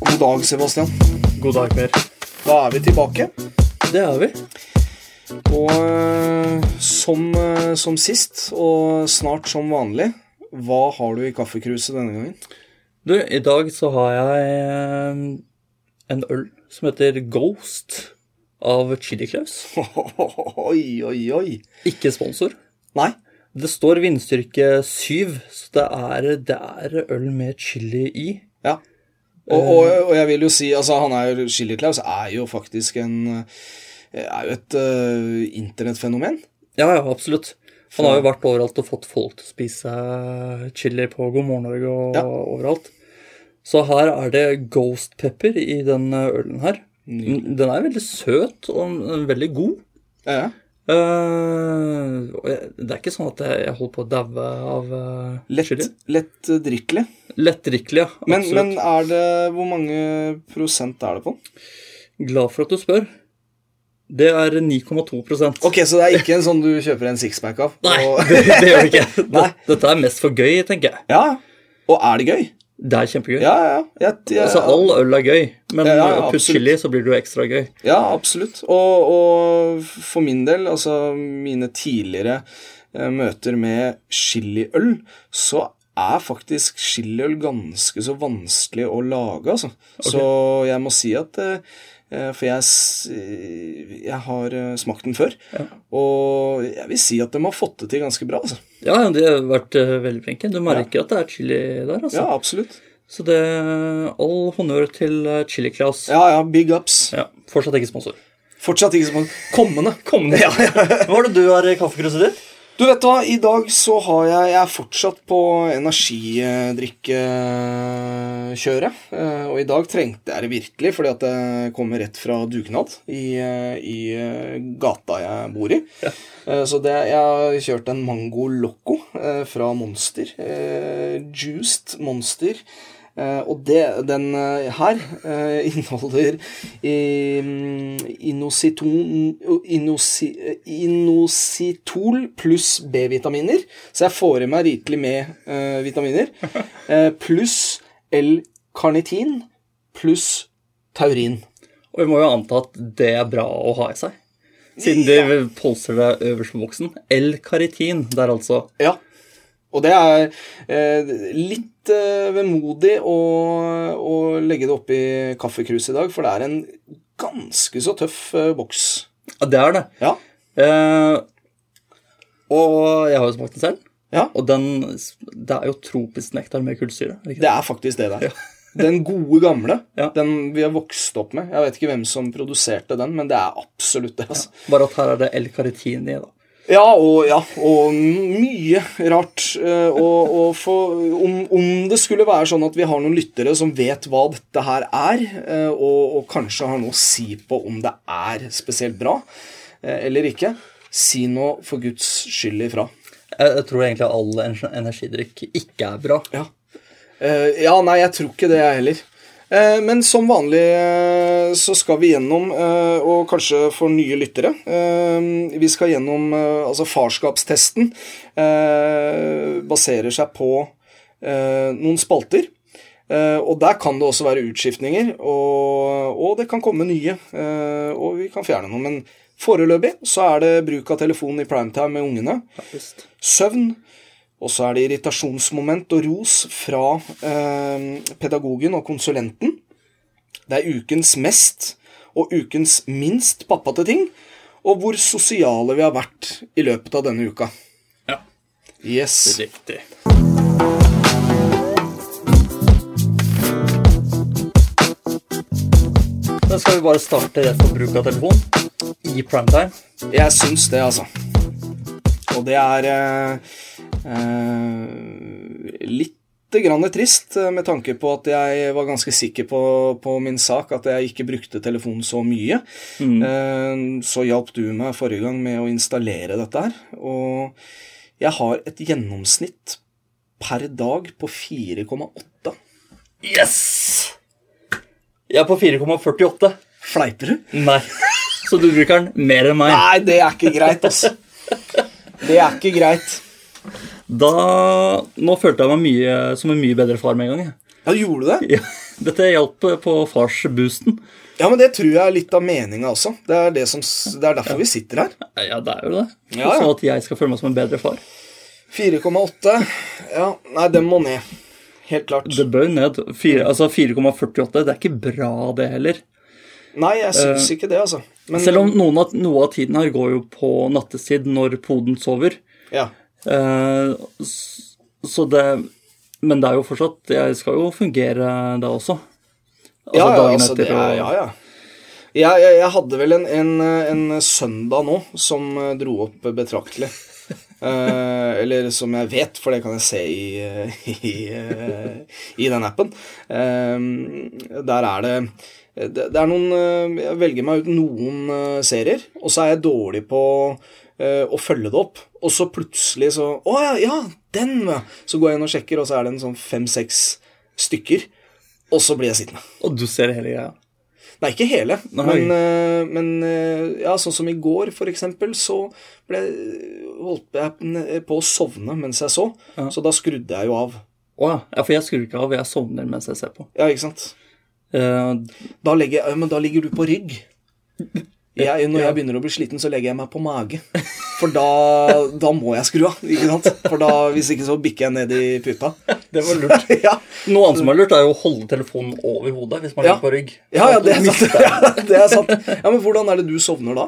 God dag, Sebastian. God dag, Per. Da er vi tilbake. Det er vi. Og eh, som, eh, som sist, og snart som vanlig, hva har du i kaffekruset denne gangen? Du, i dag så har jeg eh, en øl som heter Ghost av Chili Claus. Oi, oi, oi. Ikke sponsor. Nei. Det står vindstyrke 7, så det er, det er øl med chili i. Ja. Og, og, og jeg vil jo si, altså han er jo Chili Claus er jo faktisk en eh, Er jo et eh, internettfenomen. Ja, ja, absolutt. Han har jo vært overalt og fått folk til å spise chili på God morgen Norge og Ja. overalt. Så her er det ghost pepper i den ølen her. Mm. Den er veldig søt og veldig god. Ja, ja. Eh, og jeg- det er ikke sånn at jeg, jeg holder på å daue av uh, Lett, lett eh, drikkelig. Lettdrikkelig, ja. Men, Absolutt. men er det Hvor mange prosent er det på den? Glad for at du spør. Det er 9,2 Ok, så det er ikke en sånn du kjøper en sixpack av? Nei, Og, det, det gjør det ikke. Nei. Dette- Dette er mest for gøy, tenker jeg. ja, og er det gøy? Det er kjempegøy. Ja, ja, ja. Jeg, jeg, Altså, All øl er gøy, men Ja, ja, putt absolutt. chili, så blir det jo ekstra gøy. ja absolutt. Og, og for min del, altså mine tidligere eh, møter med chiliøl, så er faktisk chiliøl ganske så vanskelig å lage, altså. Så jeg må si at eh, eh, For jeg, s- eh, jeg har eh, smakt den før, og jeg vil si at de har fått det til ganske bra, altså. Ja, ja, de har vært eh, veldig flinke. Du merker at det er chili der, altså. Ja, absolutt. Så det all honnør til eh, Chili Claus. Ja, ja, big ups. Ja, fortsatt ikke sponsor. Fortsatt ikke som kommende. Kommende, ja. Hva er det du har i kaffekruset ditt? Du vet hva, i dag så har jeg Jeg er fortsatt på energidrikkekjøret. eh, Og i dag trengte jeg det virkelig, fordi at jeg kommer rett fra dugnad i, eh, i eh, gata jeg bor i. Eh, Så det, jeg har kjørt en mango loco eh, fra Monster. eh, Juiced Monster. Eh, og det, den eh, her eh, inneholder eh, inositon, inosi, eh, inositol pluss B-vitaminer. Så jeg får i meg rikelig med eh, vitaminer. Eh, pluss L-karnitin pluss taurin. Og vi må jo anta at det er bra å ha i seg. Siden de polstrer deg øverst på boksen. L-karitin der, altså. Ja. Og det er eh, litt eh, vemodig å, å legge det oppi kaffekruset i dag, for det er en ganske så tøff eh, boks. Ja, det er det. Ja. Eh, og jeg har jo smakt den selv. Ja. Og den Det er jo tropisk nektar med kullsyre. er det ikke Det er faktisk det der. Den gode gamle. Ja. Den vi har vokst opp med. Jeg vet ikke hvem som produserte den, men det er absolutt det. altså. det? Bare at her er det L-karitin i, da. Ja, og, ja, og mye rart. eh, Og, og for, om, om det skulle være sånn at vi har noen lyttere som vet hva dette her er, eh, og, og kanskje har noe å si på om det er spesielt bra eh, eller ikke, si nå for guds skyld ifra. Jeg, jeg tror egentlig all en- energidrikk ikke er bra. Ja. Eh, ja, nei, jeg tror ikke det, jeg heller. Eh, men som vanlig eh, så skal vi gjennom, eh, og kanskje for nye lyttere eh, Vi skal gjennom eh, Altså, farskapstesten eh, baserer seg på eh, noen spalter. Eh, og der kan det også være utskiftninger, og, og det kan komme nye. eh, og vi kan fjerne noe. Men foreløpig så er det bruk av telefon i primetime med ungene søvn. Og så er det irritasjonsmoment og ros fra eh, pedagogen og konsulenten. Det er ukens mest og ukens minst pappate ting. Og hvor sosiale vi har vært i løpet av denne uka. Ja. Yes. Riktig. Da skal vi bare starte rett på bruk av telefon i primetime. Jeg syns det, altså. Og det er eh, eh, lite grann trist, eh, med tanke på at jeg var ganske sikker på, på min sak, at jeg ikke brukte telefonen så mye. Eh, så hjalp du meg forrige gang med å installere dette her. Og jeg har et gjennomsnitt per dag på 4,8. Yes! Jeg er på 4,48. Fleiper du? Nei. Så du bruker den mer enn meg. Nei, det er ikke greit, altså. Det er ikke greit. Da Nå følte jeg meg mye, som en mye bedre far med en gang. jeg. Ja, gjorde du det? Ja. Dette hjalp på farsboosten. Ja, men det tror jeg er litt av meninga også. Det er, det, som, s- det er derfor vi sitter her. Ja, det er jo det. Ja, ja. Sånn at jeg skal føle meg som en bedre far. 4,8. Ja, nei, den må ned. Helt klart. Det bør ned. Fire- altså 4,48, det er ikke bra, det heller. Nei, jeg syns ikke det, altså. Men Eh, Selv om noen av, noe av tiden her går jo på nattestid når poden sover. ja. Eh, s- så det Men det er jo fortsatt Jeg skal jo fungere da også. Altså Ja, ja, dagen altså, det etter og- er, ja, ja. Jeg, jeg, jeg hadde vel en, en, en søndag nå som eh, dro opp betraktelig. Eh, eller som jeg vet, for det kan jeg se i, eh, i, eh, i den appen. Eh, der er det det, det er noen eh, Jeg velger meg ut noen eh, serier, og så er jeg dårlig på eh, å følge det opp. Og så plutselig så Å ja, ja, den! ja. Så går jeg inn og sjekker, og så er det en sånn fem-seks stykker. Og så blir jeg sittende. Og du ser hele greia. Nei, ikke hele, Nei. men, eh, men eh, ja, sånn som i går, for eksempel, så ble, holdt jeg n- på å sovne mens jeg så, Ja. så da skrudde jeg jo av. Å ja. ja, for jeg skrur ikke av. Jeg sovner mens jeg ser på. Ja, ikke sant? Eh, Da legger jeg, ja, men da ligger du på rygg. Jeg, når Ja. jeg begynner å bli sliten, så legger jeg meg på mage. For da, da må jeg skru av, ikke sant? For da, hvis ikke så bikker jeg ned i puta. det var lurt. ja. Noe annet som er lurt, er jo å holde telefonen over hodet hvis man Ja. ligger på rygg. Ja, ja, det er sant. Ja, det er sant. Ja, men hvordan er det du sovner da?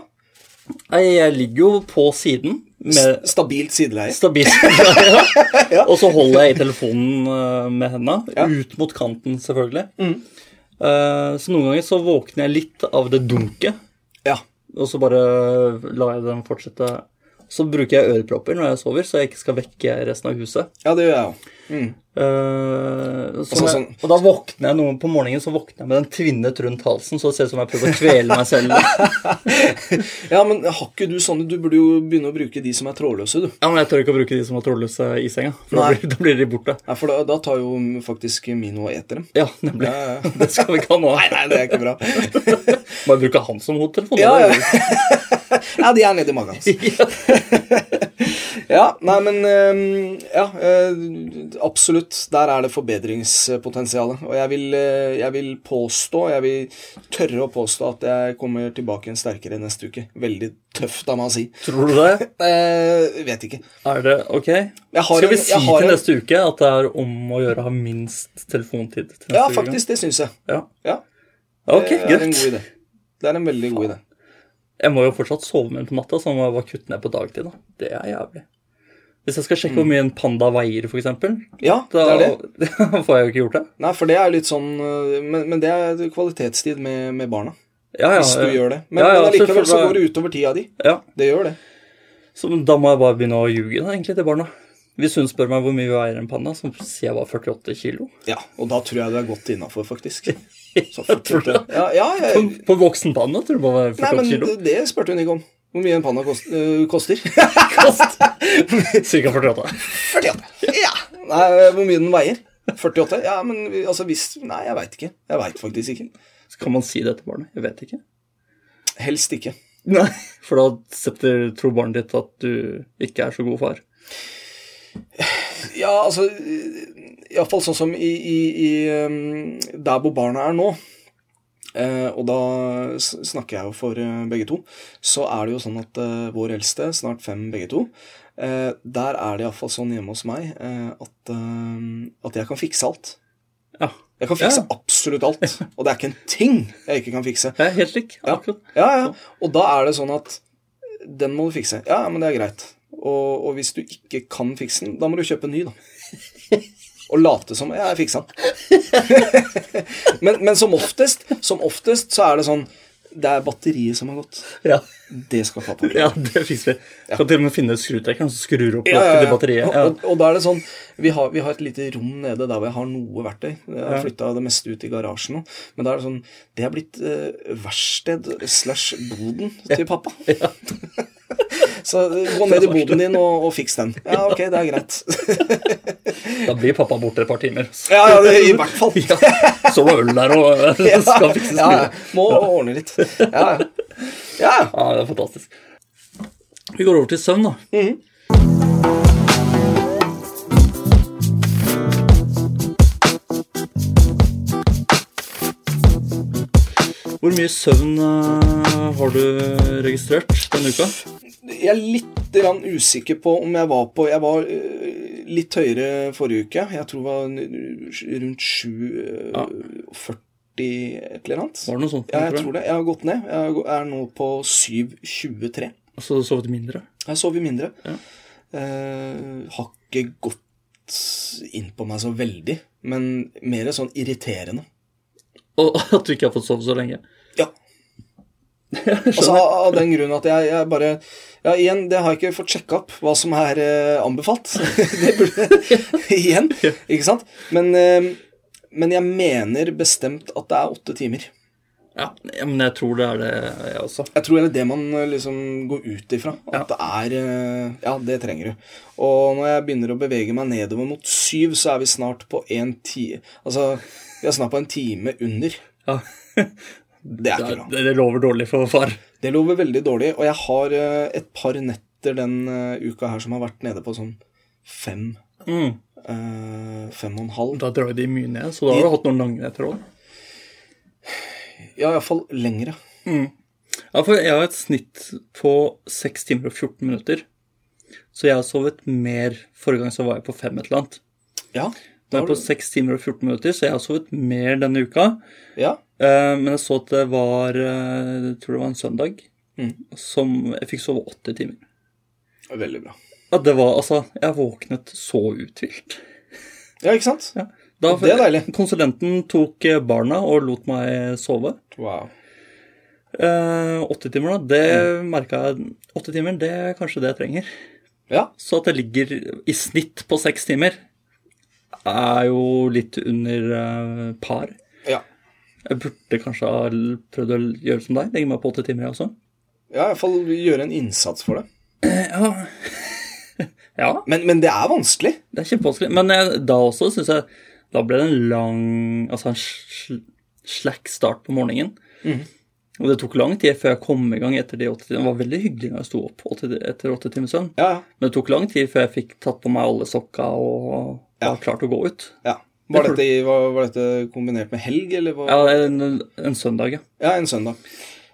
Nei, jeg ligger jo på siden med S- Stabilt sideleie? stabilt Ja. Og så holder jeg i telefonen eh, med henda, ut mot kanten selvfølgelig. Mm. Eh, så noen ganger så våkner jeg litt av det dunket, Ja. og så bare lar jeg den fortsette. Så bruker jeg ørepropper når jeg sover, så jeg ikke skal vekke resten av huset. Ja, det gjør jeg òg. Eh, så Altså, jeg, og da våkner jeg noe på morgenen så våkner jeg med den tvinnet rundt halsen, så det ser ut som jeg prøver å kvele meg selv. Ja, men har ikke du sånne? Du burde jo begynne å bruke de som er trådløse, du. Ja, men Jeg tør ikke å bruke de som var trådløse i senga, for da Nei. blir, da blir de borte. Nei, for da, da tar jo faktisk Mino og eter dem. Ja, nemlig. Ja, ja. Det skal vi ikke ha nå. Nei, nei, det er ikke bra. Må jeg bruke han som hodetelefon? Ja, eller? ja. ja de er nedi magen hans. Ja, nei, men øhm, Ja, øh, absolutt. Der er det forbedringspotensialet. Og jeg vil, øh, jeg vil påstå, jeg vil tørre å påstå at jeg kommer tilbake igjen sterkere neste uke. Veldig tøft av meg å si. Tror du det? Eh, vet ikke. Er det ok? har Skal vi en- si jeg har til en- neste uke at det er om å gjøre å ha minst telefontid til neste Ja, uke? faktisk, det syns jeg. Ja. Ja, Ok, det er en god greit. idé. Det er en veldig god idé. Jeg må jo fortsatt sove med den på natta, så jeg må jeg bare kutte ned på dagtid. da. Det er jævlig. Hvis jeg skal sjekke hvor mye en panda veier, f.eks., Ja, da det er Mm. det. får jeg jo ikke gjort det. Nei, for det er jo litt sånn øh, Men, men det er kvalitetstid med, med barna. Ja, ja, Hvis du ja. gjør det. Men, Ja, ja, men allikevel så selvfølgelig. går det utover tida di. Ja, Det gjør det. så Da må jeg bare begynne å ljuge da, egentlig til barna. Hvis hun spør meg hvor mye vi veier en panda, så sier jeg bare 48 kilo. Ja, Og da tror jeg du er godt innafor, faktisk. Så Jeg tror det. Ja, ja, På, jeg, på voksen panda tror du bare det er nei, 48 men kilo? det, det spurte hun ikke om. Hvor mye en panna kost, øh, koster. Cirka 48. 48. Ja. Nei, eh, hvor mye den veier. 48? Ja, men vi- altså hvis Nei, jeg veit ikke. Jeg veit faktisk ikke. Så kan man si det til barnet? Jeg vet ikke. Helst ikke. Nei. For da setter, tror barnet ditt at du ikke er så god far. Ja, altså Iallfall sånn som i, i, i ehm, der hvor barna er nå. Eh, og da s- snakker jeg jo for eh, begge to. Så er det jo sånn at eh, vår eldste, snart fem begge to, eh, der er det iallfall sånn hjemme hos meg eh, at, eh, at jeg kan fikse alt. Ja. Jeg kan fikse Ja. absolutt alt. Og det er ikke en ting jeg ikke kan fikse. Jeg er helt lik. Ja. Akkurat. Ja, ja. Og da er det sånn at den må du fikse. Ja, ja, men det er greit. Og, og hvis du ikke kan fikse den, da må du kjøpe en ny, da. Og late som ja, jeg fiksa den. men, men som oftest, som oftest så er det sånn Det er batteriet som har gått. Ja. Det skal pappa gjøre. ja, det fikser vi. Kan til og med finne skrutrekkeren som skrur opp Ja, ja, lokket ja. til batteriet. Og, Ja. og, og da er det sånn vi har, vi har et lite rom nede der hvor jeg har noe verktøy. Jeg har flytta det meste ut i garasjen nå. Men da er det sånn Det er blitt eh, verksted slash boden til pappa. Så eh, gå ned i boden din og, og fiks den. Ja, ok, det er greit. Da blir pappa borte et par timer. Ja, ja, det, i hvert fall. Ja. Så var øl der og Ja, skal fikse ja, ja. skruer. Må ordne litt. Ja, ja. ja. Ja, det er fantastisk. Vi går over til søvn, da. Mhm. Hvor mye søvn eh, har du registrert denne uka? Jeg er litt grann usikker på om jeg var på Jeg var eh, litt høyere forrige uke. Jeg tror det var n- rundt 7.40 Ja. et eller annet. Var det noe sånt? Ja, jeg tror det. Jeg har gått ned. Jeg gå- er nå på 7.23. Så du har Altså, sovet mindre? Jeg sover mindre. Ja. Eh, har ikke gått inn på meg så veldig, men mer sånn irriterende. Og at du ikke har fått sove så lenge? Ja. Altså, av av den grunn at jeg, jeg bare Ja, igjen, det har jeg ikke fått sjekka opp hva som er eh, anbefalt. det burde Igjen, ikke sant? Men, eh, men jeg mener bestemt at det er åtte timer. Ja, men jeg tror det er det, jeg også. Jeg tror det er det man eh, liksom går ut ifra. At det er eh, Ja, det trenger du. Og når jeg begynner å bevege meg nedover mot syv, så er vi snart på en ti... Altså, vi er snart på en time under. Ja. Det er ikke bra. Det, det lover dårlig for far. Det lover veldig dårlig, og jeg har eh, et par netter den eh, uka her som har vært nede på sånn fem, Mm. eh, fem og en halv. Da drar jo de mye ned, så da har du hatt noen lange netter òg. Ja, iallfall lengre. Ja, for jeg har et snitt på 6 timer og 14 minutter. Så jeg har sovet mer. Forrige gang så var jeg på 5 et eller annet. Ja. Nå er jeg på 6 timer og 14 minutter, så jeg har sovet mer denne uka. ja. Eh, men jeg så at det var eh, Jeg tror det var en søndag Mm. som jeg fikk sove 80 timer. Veldig bra. Ja, det var altså Jeg våknet så uthvilt. Ja, ikke sant? Ja. Da, Det er deilig. Konsulenten tok eh, barna og lot meg sove. Wow. Eh, åtte timer, da. Det Mm. merka jeg Åtte timer, det er kanskje det jeg trenger. Ja. Så at jeg ligger i snitt på seks timer, er jo litt under eh, par. Ja. Jeg burde kanskje ha l- prøvd å gjøre som deg, legge meg på åtte timer, jeg også. Ja, iallfall gjøre en innsats for det. Ja. ja, Men, men det er vanskelig. det er kjempevanskelig. Men jeg, da også syns jeg Da ble det en lang Altså en sl- slack start på morgenen. Og det tok lang tid før jeg kom i gang etter de åtte timene. Det var veldig hyggelig når jeg sto opp åtte, etter åtte timers søvn. Ja, ja. Men det tok lang tid før jeg fikk tatt på meg alle sokka og var klar til å gå ut. ja. Var, dette, i- var, var dette kombinert med helg, eller? Hva? Ja, en, en søndag, ja. Ja, en søndag.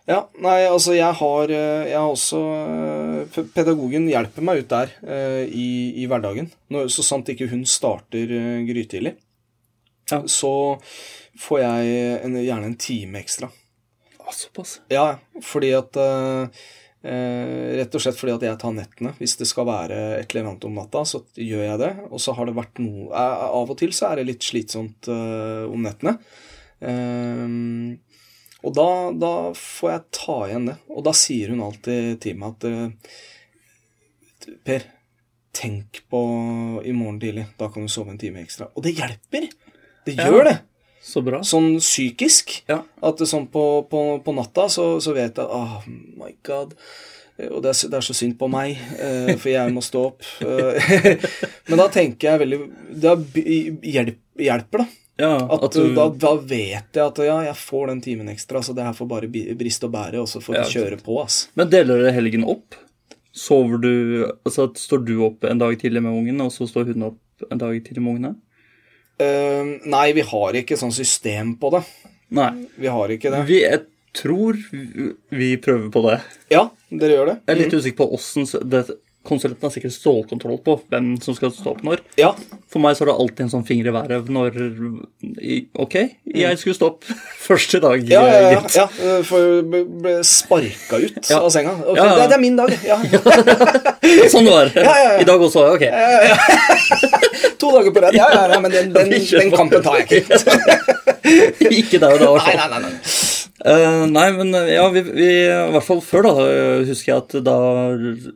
Ja, nei, altså jeg har, eh, jeg har også eh, pe- Pedagogen hjelper meg ut der eh, i, i hverdagen. Når, så sant ikke hun starter eh, grytidlig, Ja. så får jeg en, gjerne en time ekstra. Å, Såpass. Ja, ja, fordi at eh, eh, Rett og slett fordi at jeg tar nettene. Hvis det skal være et eller annet om natta, så gjør jeg det. Og så har det vært noe eh, Av og til så er det litt slitsomt eh, om nettene. Ehm, og da, da får jeg ta igjen det. Og da sier hun alltid til meg at eh, Per, tenk på i morgen tidlig. Da kan du sove en time ekstra. Og det hjelper! Det Ja. gjør det! Så bra. Sånn psykisk. Ja. At det sånn på, på, på natta så, så vet jeg Oh my god. Eh, Og det er, så- det er så synd på meg, eh, for jeg må stå opp. Eh, Men da tenker jeg veldig Da b- hjelp, hjelper, da. ja At, da, da vet jeg at ja, jeg får den timen ekstra, så det her får bare bi- briste og bære, og så får vi Ja, ikke kjøre på, ass. Men deler dere helgen opp? Sover du Altså at står du opp en dag tidlig med ungen, og så står hun opp en dag tidlig med ungene? Eh, nei, vi har ikke sånn system på det. Nei. Vi har ikke det. Vi, jeg tror vi- vi prøver på det. Ja, dere gjør det? Jeg er litt usikker på åssen det- Konsulenten har sikkert stålkontroll på hvem som skal stå opp når. Ja. For meg så er det alltid en sånn finger i været når i- Ok, jeg skulle stå opp første dag. Mm. Ja, ja, ja, gitt. ja. eh, For ble- ble sparka ut av senga. Ok, Ja, ja. Det, det er min dag. Ja. Sånn det var. ja, ja. I dag også. Ok. Ja, To dager på rad. Ja, ja, ja, men den, den, den kampen tar jeg ikke. ikke deg og da. Nei, Altså. nei, nei, nei. Eh, nei, men ja, vi, vi I hvert fall før, da, eh, husker jeg at da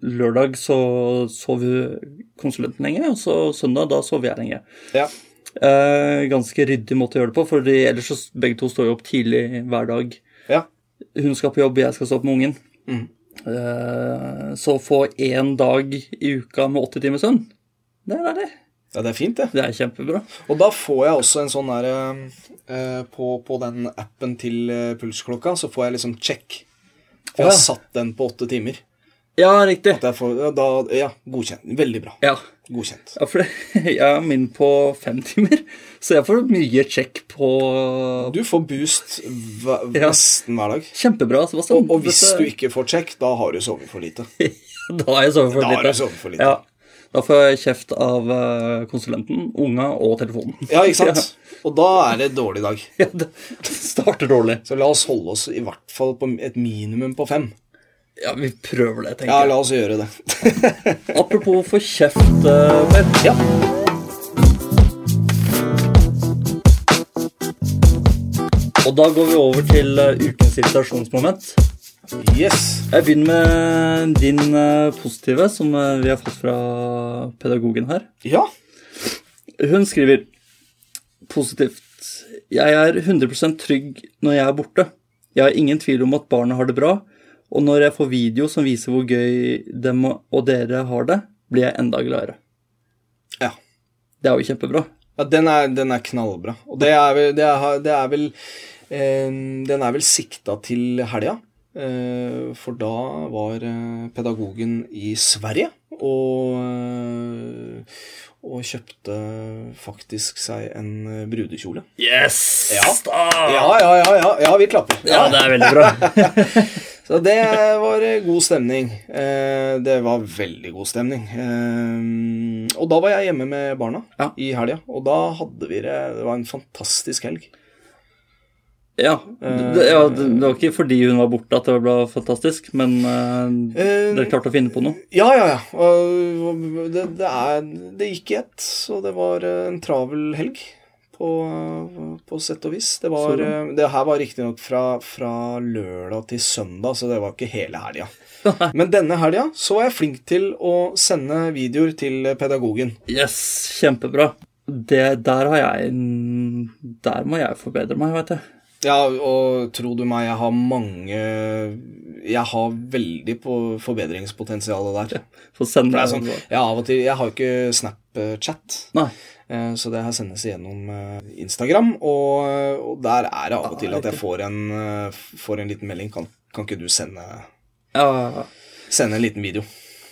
lørdag så sov konsulenten lenge, og så søndag da sov jeg lenge. Ja. Eh, ganske ryddig måte å gjøre det på, for ellers så s- begge to står jo opp tidlig hver dag. Ja. hun skal på jobb, jeg skal stå opp med ungen. Mm. Eh, Så få én dag i uka med åtte timer søvn. Det er deilig. ja, det er fint, det. Det er kjempebra. Og da får jeg også en sånn derre eh, på, på den appen til eh, pulsklokka, så får jeg liksom check. For jeg Å, ja. har satt den på åtte timer. Ja, riktig. At jeg får, ja, da, ja, godkjent. Veldig bra. Ja. Godkjent. Ja, for jeg er min på fem timer, så jeg får mye check på Du får boost hva- Ja. nesten hver dag. Kjempebra, Sebastian. Og, og hvis Dette- du ikke får check, da har du sovet for lite. Da har jeg sovet for Da lite. har jeg sovet for lite. Ja. Da får jeg kjeft av eh, konsulenten, unga og telefonen. Ja, ikke sant? Og da er det dårlig dag. Ja, det det starter dårlig. Så la oss holde oss i hvert fall på et minimum på fem. Ja, vi prøver det, Ja, tenker jeg. la oss gjøre det. Apropos få kjeft, eh, Per. Ja. Og da går vi over til eh, ukens irritasjonsmoment. Yes. Jeg begynner med din eh, positive, som eh, vi har fått fra pedagogen her. Ja. Hun skriver positivt. Jeg er 100 trygg når jeg er borte. Jeg har ingen tvil om at barnet har det bra, og når jeg får video som viser hvor gøy dem og dere har det, blir jeg enda gladere. Ja. Det er jo kjempebra. Ja, den er, den er knallbra. Og det er vel, det er, det er vel eh, Den er vel sikta til helga. Eh, for da var eh, pedagogen i Sverige og, eh, og kjøpte faktisk seg en eh, brudekjole. Yes! Da! Ja, ja, ja. ja, ja vi klapper. Ah. Ja, det er veldig bra. Så det var eh, god stemning. Eh, det var veldig god stemning. Eh, og da var jeg hjemme med barna Ja. i helga, og da hadde vi det Det var en fantastisk helg. Ja, det, ja, det det var ikke fordi hun var borte at det ble fantastisk, men eh, Eh, dere klarte å finne på noe. Ja, ja, ja. Og Det, det, er, det gikk i ett, så det var eh, en travel helg. På, eh, på sett og vis. Det, var, eh, det her var riktignok fra, fra lørdag til søndag, så det var ikke hele helga. Men denne helga så var jeg flink til å sende videoer til pedagogen. Yes, kjempebra. Det, der har jeg Der må jeg forbedre meg, veit jeg. Ja, og tro du meg, jeg har mange Jeg har veldig på forbedringspotensialet der. Få For det sende deg er sånn, jeg av og til Jeg har jo ikke Snapchat. Nei. Eh, Så det her sendes gjennom eh, Instagram, og, og der er det av og til at jeg får en, eh, får en liten melding. Kan, kan ikke du sende, Ja, sende en liten video?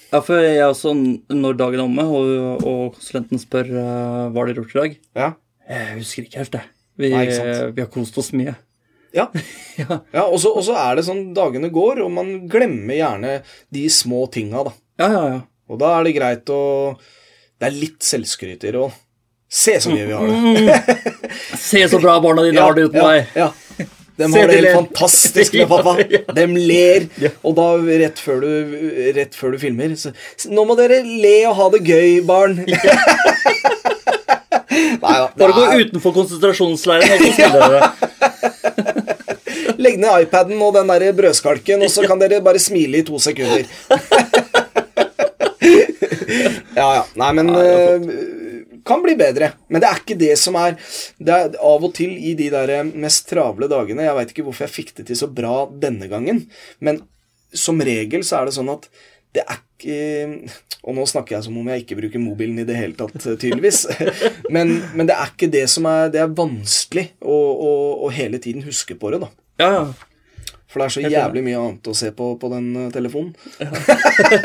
ja, for jeg er også, når dagen er omme, og, og konsulenten spør eh, hva har dere gjort i dag Ja. Jeg husker ikke helt, det. Vi, Nei, ikke sant. vi har kost oss mye. Ja. Ja. ja og så og så er det sånn dagene går, og man glemmer gjerne de små tinga, da. Ja, ja, ja. Og da er det greit å Det er litt selvskryt i det òg. Se så mye vi har det! Se så bra barna dine har Mm. det uten ja, meg! Ja. De Se, har det de helt ler. fantastisk med pappa. De ler. Og da, rett før du, rett før du filmer så, så, Nå må dere le og ha det gøy, barn. Nei da. Bare gå utenfor konsentrasjonsleiren, og så spiller dere. Legg ned iPaden og den der brødskalken, og så kan dere bare smile i to sekunder. ja, ja. Nei, men eh, kan bli bedre. Men det er ikke det som er Det er av og til i de der eh, mest travle dagene Jeg veit ikke hvorfor jeg fikk det til så bra denne gangen, men som regel så er det sånn at det er ikke Og nå snakker jeg som om jeg ikke bruker mobilen i det hele tatt, eh, tydeligvis. Men, men det er ikke det som er Det er vanskelig å, å, å hele tiden huske på det, da. Ja, ja. For det er så jævlig mye annet å se på på den eh, telefonen.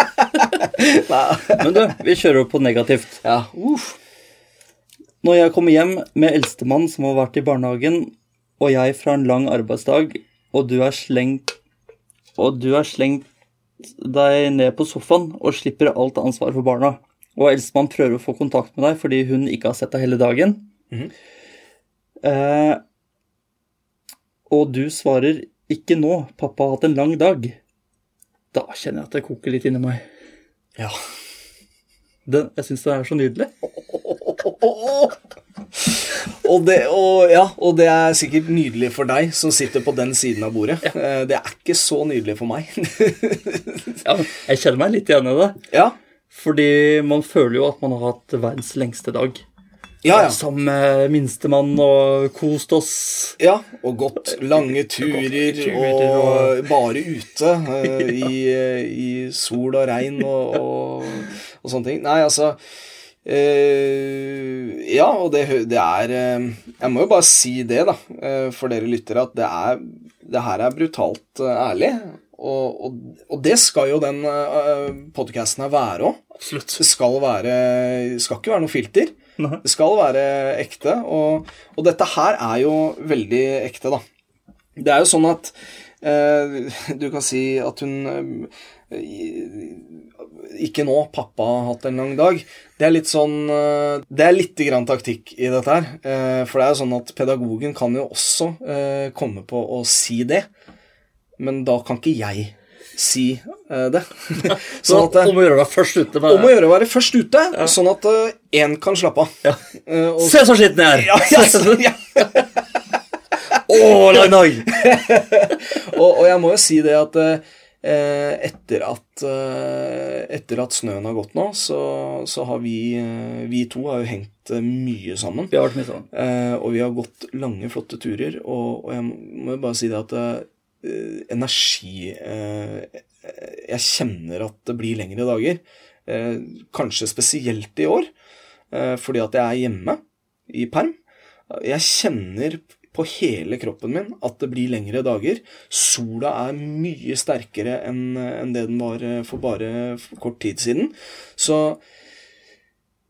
Nei. Men du, vi kjører opp på negativt. Ja, uff. Når jeg kommer hjem med eldstemann som har vært i barnehagen, og jeg fra en lang arbeidsdag, og du er slengt Og du er slengt deg ned på sofaen og slipper alt ansvar for barna. Og eldstemann prøver å få kontakt med deg fordi hun ikke har sett deg hele dagen. eh, og du svarer 'ikke nå, pappa har hatt en lang dag'. Da kjenner jeg at det koker litt inni meg. Ja. Den, jeg syns det er så nydelig. Og det, og, ja, og det er sikkert nydelig for deg som sitter på den siden av bordet. Eh, Det er ikke så nydelig for meg. Ja, men jeg kjenner meg litt igjen i det. ja. Fordi man føler jo at man har hatt verdens lengste dag. Ja, ja. Sammen med minstemann og kost oss. ja. Og gått lange turer og bare ute eh, i, eh, i sol og regn og, og, og sånne ting. Nei, altså eh, Ja, og det, hø- det er eh, Jeg må jo bare si det, da, eh, for dere lyttere, at det, er, det her er brutalt eh, ærlig. Og, og, og det skal jo den podkasten eh, her være òg. Absolutt. Det skal, være, det skal ikke være noe filter. Nei. Det skal være ekte, og, og dette her er jo veldig ekte, da. Det er jo sånn at eh, du kan si at hun eh, i- Ikke nå, pappa har hatt en lang dag. Det er litt sånn eh, Det er lite grann taktikk i dette her. eh, for det er jo sånn at pedagogen kan jo også eh, komme på å si det, men da kan ikke jeg si eh, det. Så sånn at eh, om å gjøre det først ute med om å gjøre å være først ute, sånn at én kan slappe av. Ja. Eh, og- Se så skitten jeg er! ja, ja, ja. Å, lang dag! Og, og jeg må jo si det at eh, etter at, eh, etter at snøen har gått nå, så, så har vi eh, Vi to har jo hengt eh, mye sammen. Vi har vært mye sammen. Eh, og vi har gått lange, flotte turer. Og, og jeg må jo bare si det at eh, energi eh, Jeg kjenner at det blir lengre dager. Eh, kanskje spesielt i år, eh, fordi at jeg er hjemme i perm. Jeg kjenner på hele kroppen min at det blir lengre dager. Sola er mye sterkere enn enn det den var eh, for bare kort tid siden. Så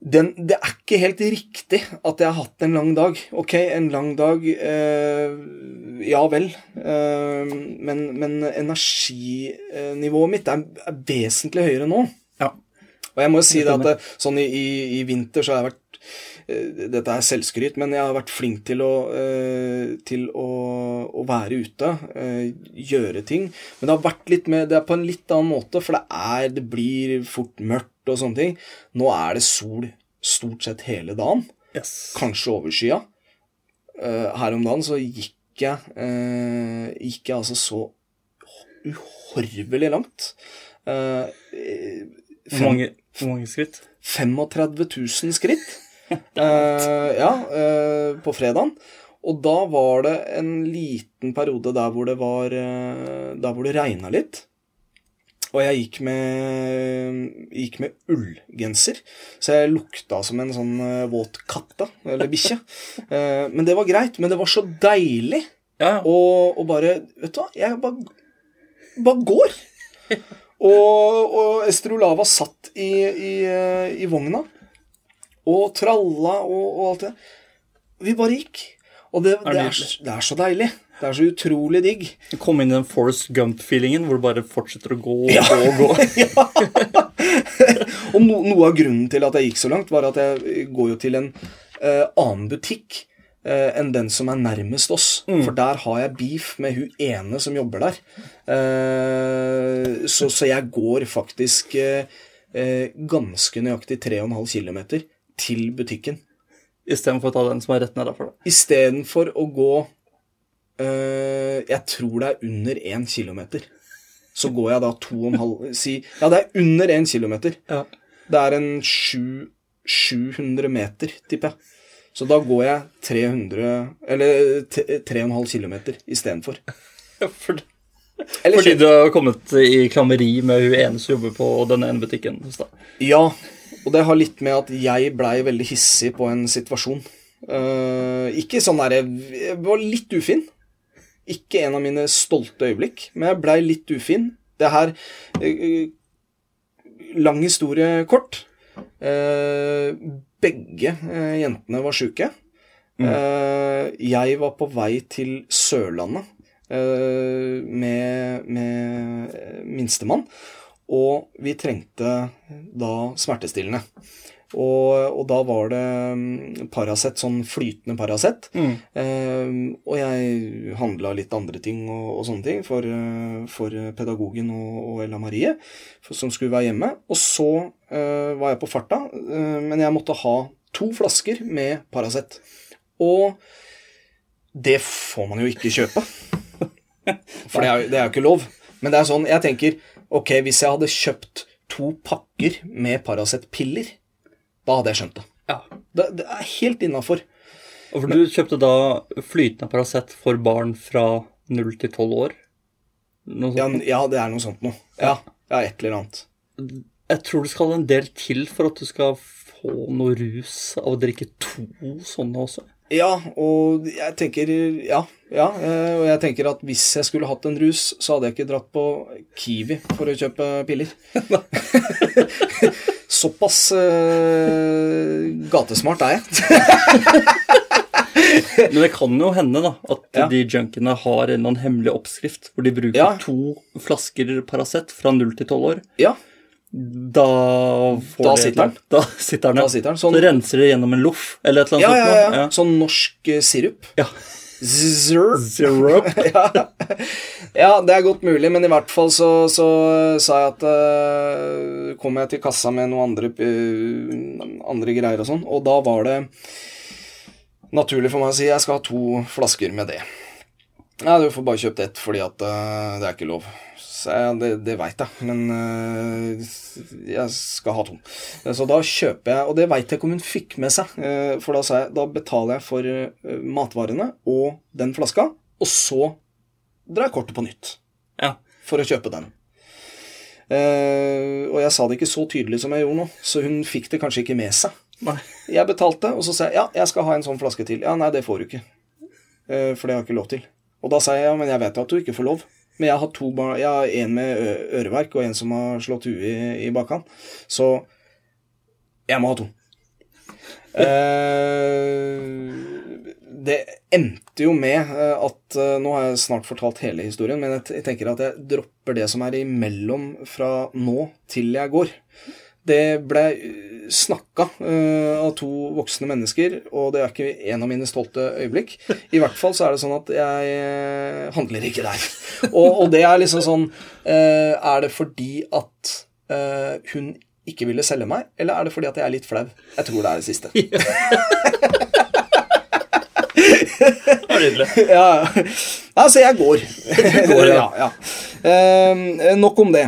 den, det er ikke helt riktig at jeg har hatt en lang dag. Ok, en lang dag eh, Ja vel. Eh, men men energinivået mitt er, er vesentlig høyere nå. Ja. Og jeg må jo si det at det, sånn i, i, i vinter så har jeg vært eh, Dette er selvskryt, men jeg har vært flink til å, eh, til å, å være ute, eh, gjøre ting. Men det har vært litt mer Det er på en litt annen måte, for det, er, det blir fort mørkt og sånne ting. Nå er det sol stort sett hele dagen, Yes. kanskje overskya. Eh, her om dagen så gikk jeg, eh, gikk jeg altså så uhorvelig langt. Eh, eh, Hvor mange, hvor mange skritt? 35 000 skritt eh, ja, eh, på fredagen. Og da var det en liten periode der hvor det var eh, Der hvor det regna litt. Og jeg gikk med, gikk med ullgenser, så jeg lukta som en sånn eh, våt katt, da. Eller bikkje. Eh, men det var greit. Men det var så deilig Ja, ja. og, og bare Vet du hva, jeg bare, bare går. Og, og Estrolava satt i, i, eh, i vogna og tralla og, og alt det. Vi bare gikk. Og det, det, er, nydelig. så- det er så deilig. Det er så utrolig digg. Du kom inn i den Forest Gump-feelingen hvor du bare fortsetter å gå og gå og gå. Og no, noe av grunnen til at jeg gikk så langt, var at jeg går jo til en eh, annen butikk eh, enn den som er nærmest oss. Mm. For der har jeg beef med hun ene som jobber der. Eh, så, så jeg går faktisk eh, eh, ganske nøyaktig 3,5 km til butikken. Istedenfor å ta den som er rett nedafor deg. Istedenfor å gå eh, Jeg tror det er under 1 km. Så går jeg da 2,5 Si Ja, det er under 1 km. Ja. Det er en sju- 700 meter, tipper jeg. Så da går jeg 300 Eller t- 3,5 km istedenfor. For, Eller fordi du har kommet i klammeri med hun ene som jobber på den ene butikken hos deg. Ja, og det har litt med at jeg blei veldig hissig på en situasjon. Eh, ikke sånn derre Jeg var litt ufin. Ikke en av mine stolte øyeblikk, men jeg blei litt ufin. Det her eh, Lang historie kort. Eh, begge eh, jentene var sjuke. Eh, jeg var på vei til Sørlandet eh, med, med eh, minstemann, og vi trengte da smertestillende. Og, og da var det mm, Paracet, sånn flytende Paracet. Eh, og jeg handla litt andre ting og, og sånne ting for, eh, for pedagogen og, og Ella Marie, for, som skulle være hjemme. Og så eh, var jeg på farta, eh, men jeg måtte ha to flasker med Paracet. Og det får man jo ikke kjøpe. For det er, jo- det er jo ikke lov. Men det er sånn, jeg tenker Ok, hvis jeg hadde kjøpt to pakker med Paracet-piller, da hadde jeg skjønt det. Ja. Det, det er helt innafor. Og for du kjøpte da flytende Paracet for barn fra 0 til 12 år? Noe Ja, sånt. n- ja, det er noe sånt noe. Ja, ja et eller annet. Jeg tror det skal en del til for at du skal få noe rus av å drikke to sånne også. Ja, og jeg tenker Ja, ja. eh, Og jeg tenker at hvis jeg skulle hatt en rus, så hadde jeg ikke dratt på Kiwi for å kjøpe piller. Såpass eh, gatesmart er jeg. Men det kan jo hende da, at Ja. de junkiene har en eller annen hemmelig oppskrift hvor de bruker Ja. to flasker Paracet fra 0 til 12 år. ja. Da, Da får de et sitter den. eller annet. Da sitter den. Da ja. sitter den, Så sånn- renser det gjennom en loff eller et eller Ja, ja, annet. ja, ja. sånt Sånn norsk eh, sirup. noe. Ja. Zzzer. Syrup. ja. ja, det er godt mulig, men i hvert fall så, så sa jeg at eh, Kom jeg til kassa med noen andre, eh, andre greier og sånn, og da var det naturlig for meg å si jeg skal ha to flasker med det. Nei, du får bare kjøpt ett, fordi at eh, det er ikke lov. Så jeg, det det veit jeg, men eh, jeg skal ha to. Så da kjøper jeg, og det veit jeg ikke om hun fikk med seg, eh, for da sa jeg da betaler jeg for eh, matvarene og den flaska, og så drar jeg kortet på nytt Ja. for å kjøpe den. Eh, og jeg sa det ikke så tydelig som jeg gjorde nå, så hun fikk det kanskje ikke med seg. Nei. Jeg betalte, og så sa jeg ja, jeg skal ha en sånn flaske til. Ja, nei, det får du ikke. Eh, For det har jeg ikke lov til. Og da sa jeg ja, men jeg vet jo at du ikke får lov. Men jeg har to barn, jeg har en med ø- øreverk og en som har slått huet i, i bakkant. Så jeg må ha to. Eh, det endte jo med eh, at eh, Nå har jeg snart fortalt hele historien, men jeg, t jeg tenker at jeg dropper det som er imellom fra nå til jeg går. Det ble eh, snakka eh, av to voksne mennesker, og det er ikke en av mine stolte øyeblikk. I hvert fall så er det sånn at jeg eh, handler ikke der. Og, og det er liksom sånn eh, Er det fordi at eh, hun ikke ville selge meg, eller er det fordi at jeg er litt flau? Jeg tror det er det siste. Nydelig. ja. Nei, så jeg går. går, ja. ja, ja. Eh, nok om det.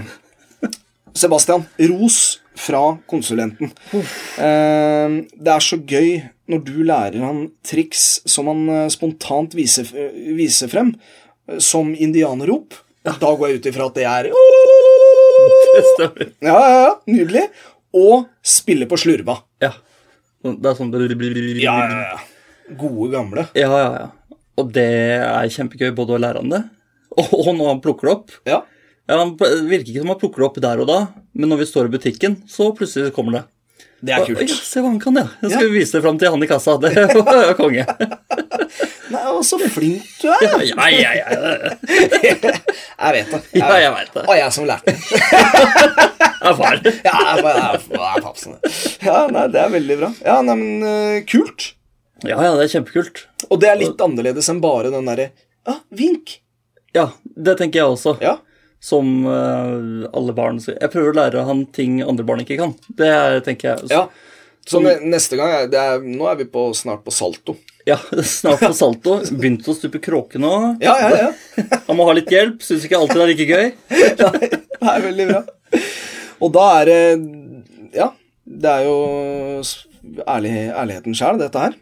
Sebastian, ros fra konsulenten. Eh, det er så gøy når du lærer han triks som han eh, spontant viser, eh, viser frem, eh, som indianerrop. Da går jeg ut ifra at det er Det stemmer. Ja, ja, ja. Nydelig. Og spille på slurva. Ja. Det er sånn Ja, ja, ja. Gode gamle. Ja, ja, ja. Og det er kjempegøy både å lære han det, og når han plukker det opp. Ja. Ja, Han pl- virker ikke som han plukker det opp der og da, men når vi står i butikken, så plutselig kommer det. Det er Ja, kult. se hva han kan, ja. Jeg skal vise det fram til han i kassa. Det var konge. Nei, og så flink du er. Ja, ja, ja. ja. Jeg vet det. Ja, jeg vet det. Og jeg som lærte det. Jeg er far. Ja, jeg bare- jeg er- jeg er papsen. Ja, nei, det er veldig bra. Ja, nei, men eh, kult. Ja, ja, det er kjempekult. Og det er litt annerledes enn bare den derre Ja, vink. Ja, det tenker jeg også. Ja. Som eh, alle barn så Jeg prøver å lære han ting andre barn ikke kan. Det er, tenker jeg. ja. Så ne neste gang er, det er, Nå er vi på, snart på salto. Ja, Snart på salto. Begynte å stupe kråke nå. Ja, ja, ja. Han må ha litt hjelp. Syns ikke alltid det er like gøy. Det er veldig bra. Og da er det Ja. Det er jo s- ærlig, ærligheten sjæl, dette her.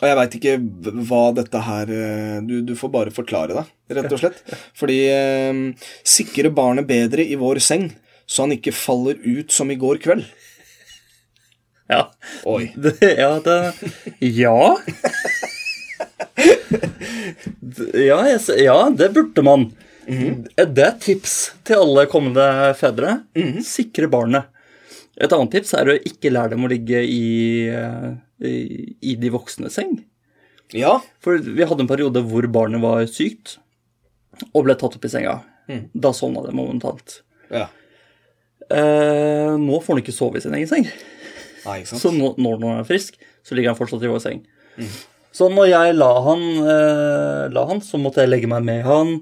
Og jeg veit ikke hv- hva dette her eh, du, du får bare forklare deg, rett og slett. Fordi eh, sikre barnet bedre i vår seng, så han ikke faller ut som i går kveld. Ja. Oi. Det, ja, det Ja. D- Ja, jeg, s- ja, det burde man. Mhm. Det er et tips til alle kommende fedre. Mhm. Sikre barnet. Et annet tips er å ikke lære dem å ligge i, eh, i, i de voksnes seng. Ja. For vi hadde en periode hvor barnet var sykt og ble tatt opp i senga. Da sovna det momentant. ja. Eh, nå får han ikke sove i sin egen seng. Nei, ikke sant. Så nå- når han er frisk, så ligger han fortsatt i vår seng. Så når jeg la han, eh, la han, så måtte jeg legge meg med han.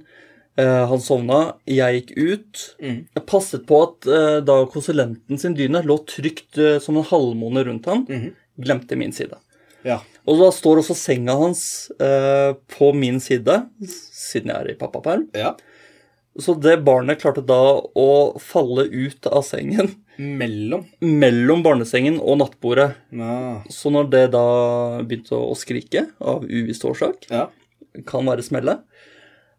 Eh, han sovna, jeg gikk ut. Jeg passet på at eh, da konsulenten sin dyne lå trygt eh, som en halvmåne rundt han, glemte min side. Ja. Og da står også senga hans eh, på min side, siden jeg er i pappaperm. ja. Så det barnet klarte da å falle ut av sengen Mellom. mellom barnesengen og nattbordet. Ja. Så når det da begynte å skrike av uvisst årsak, ja. kan være smellet,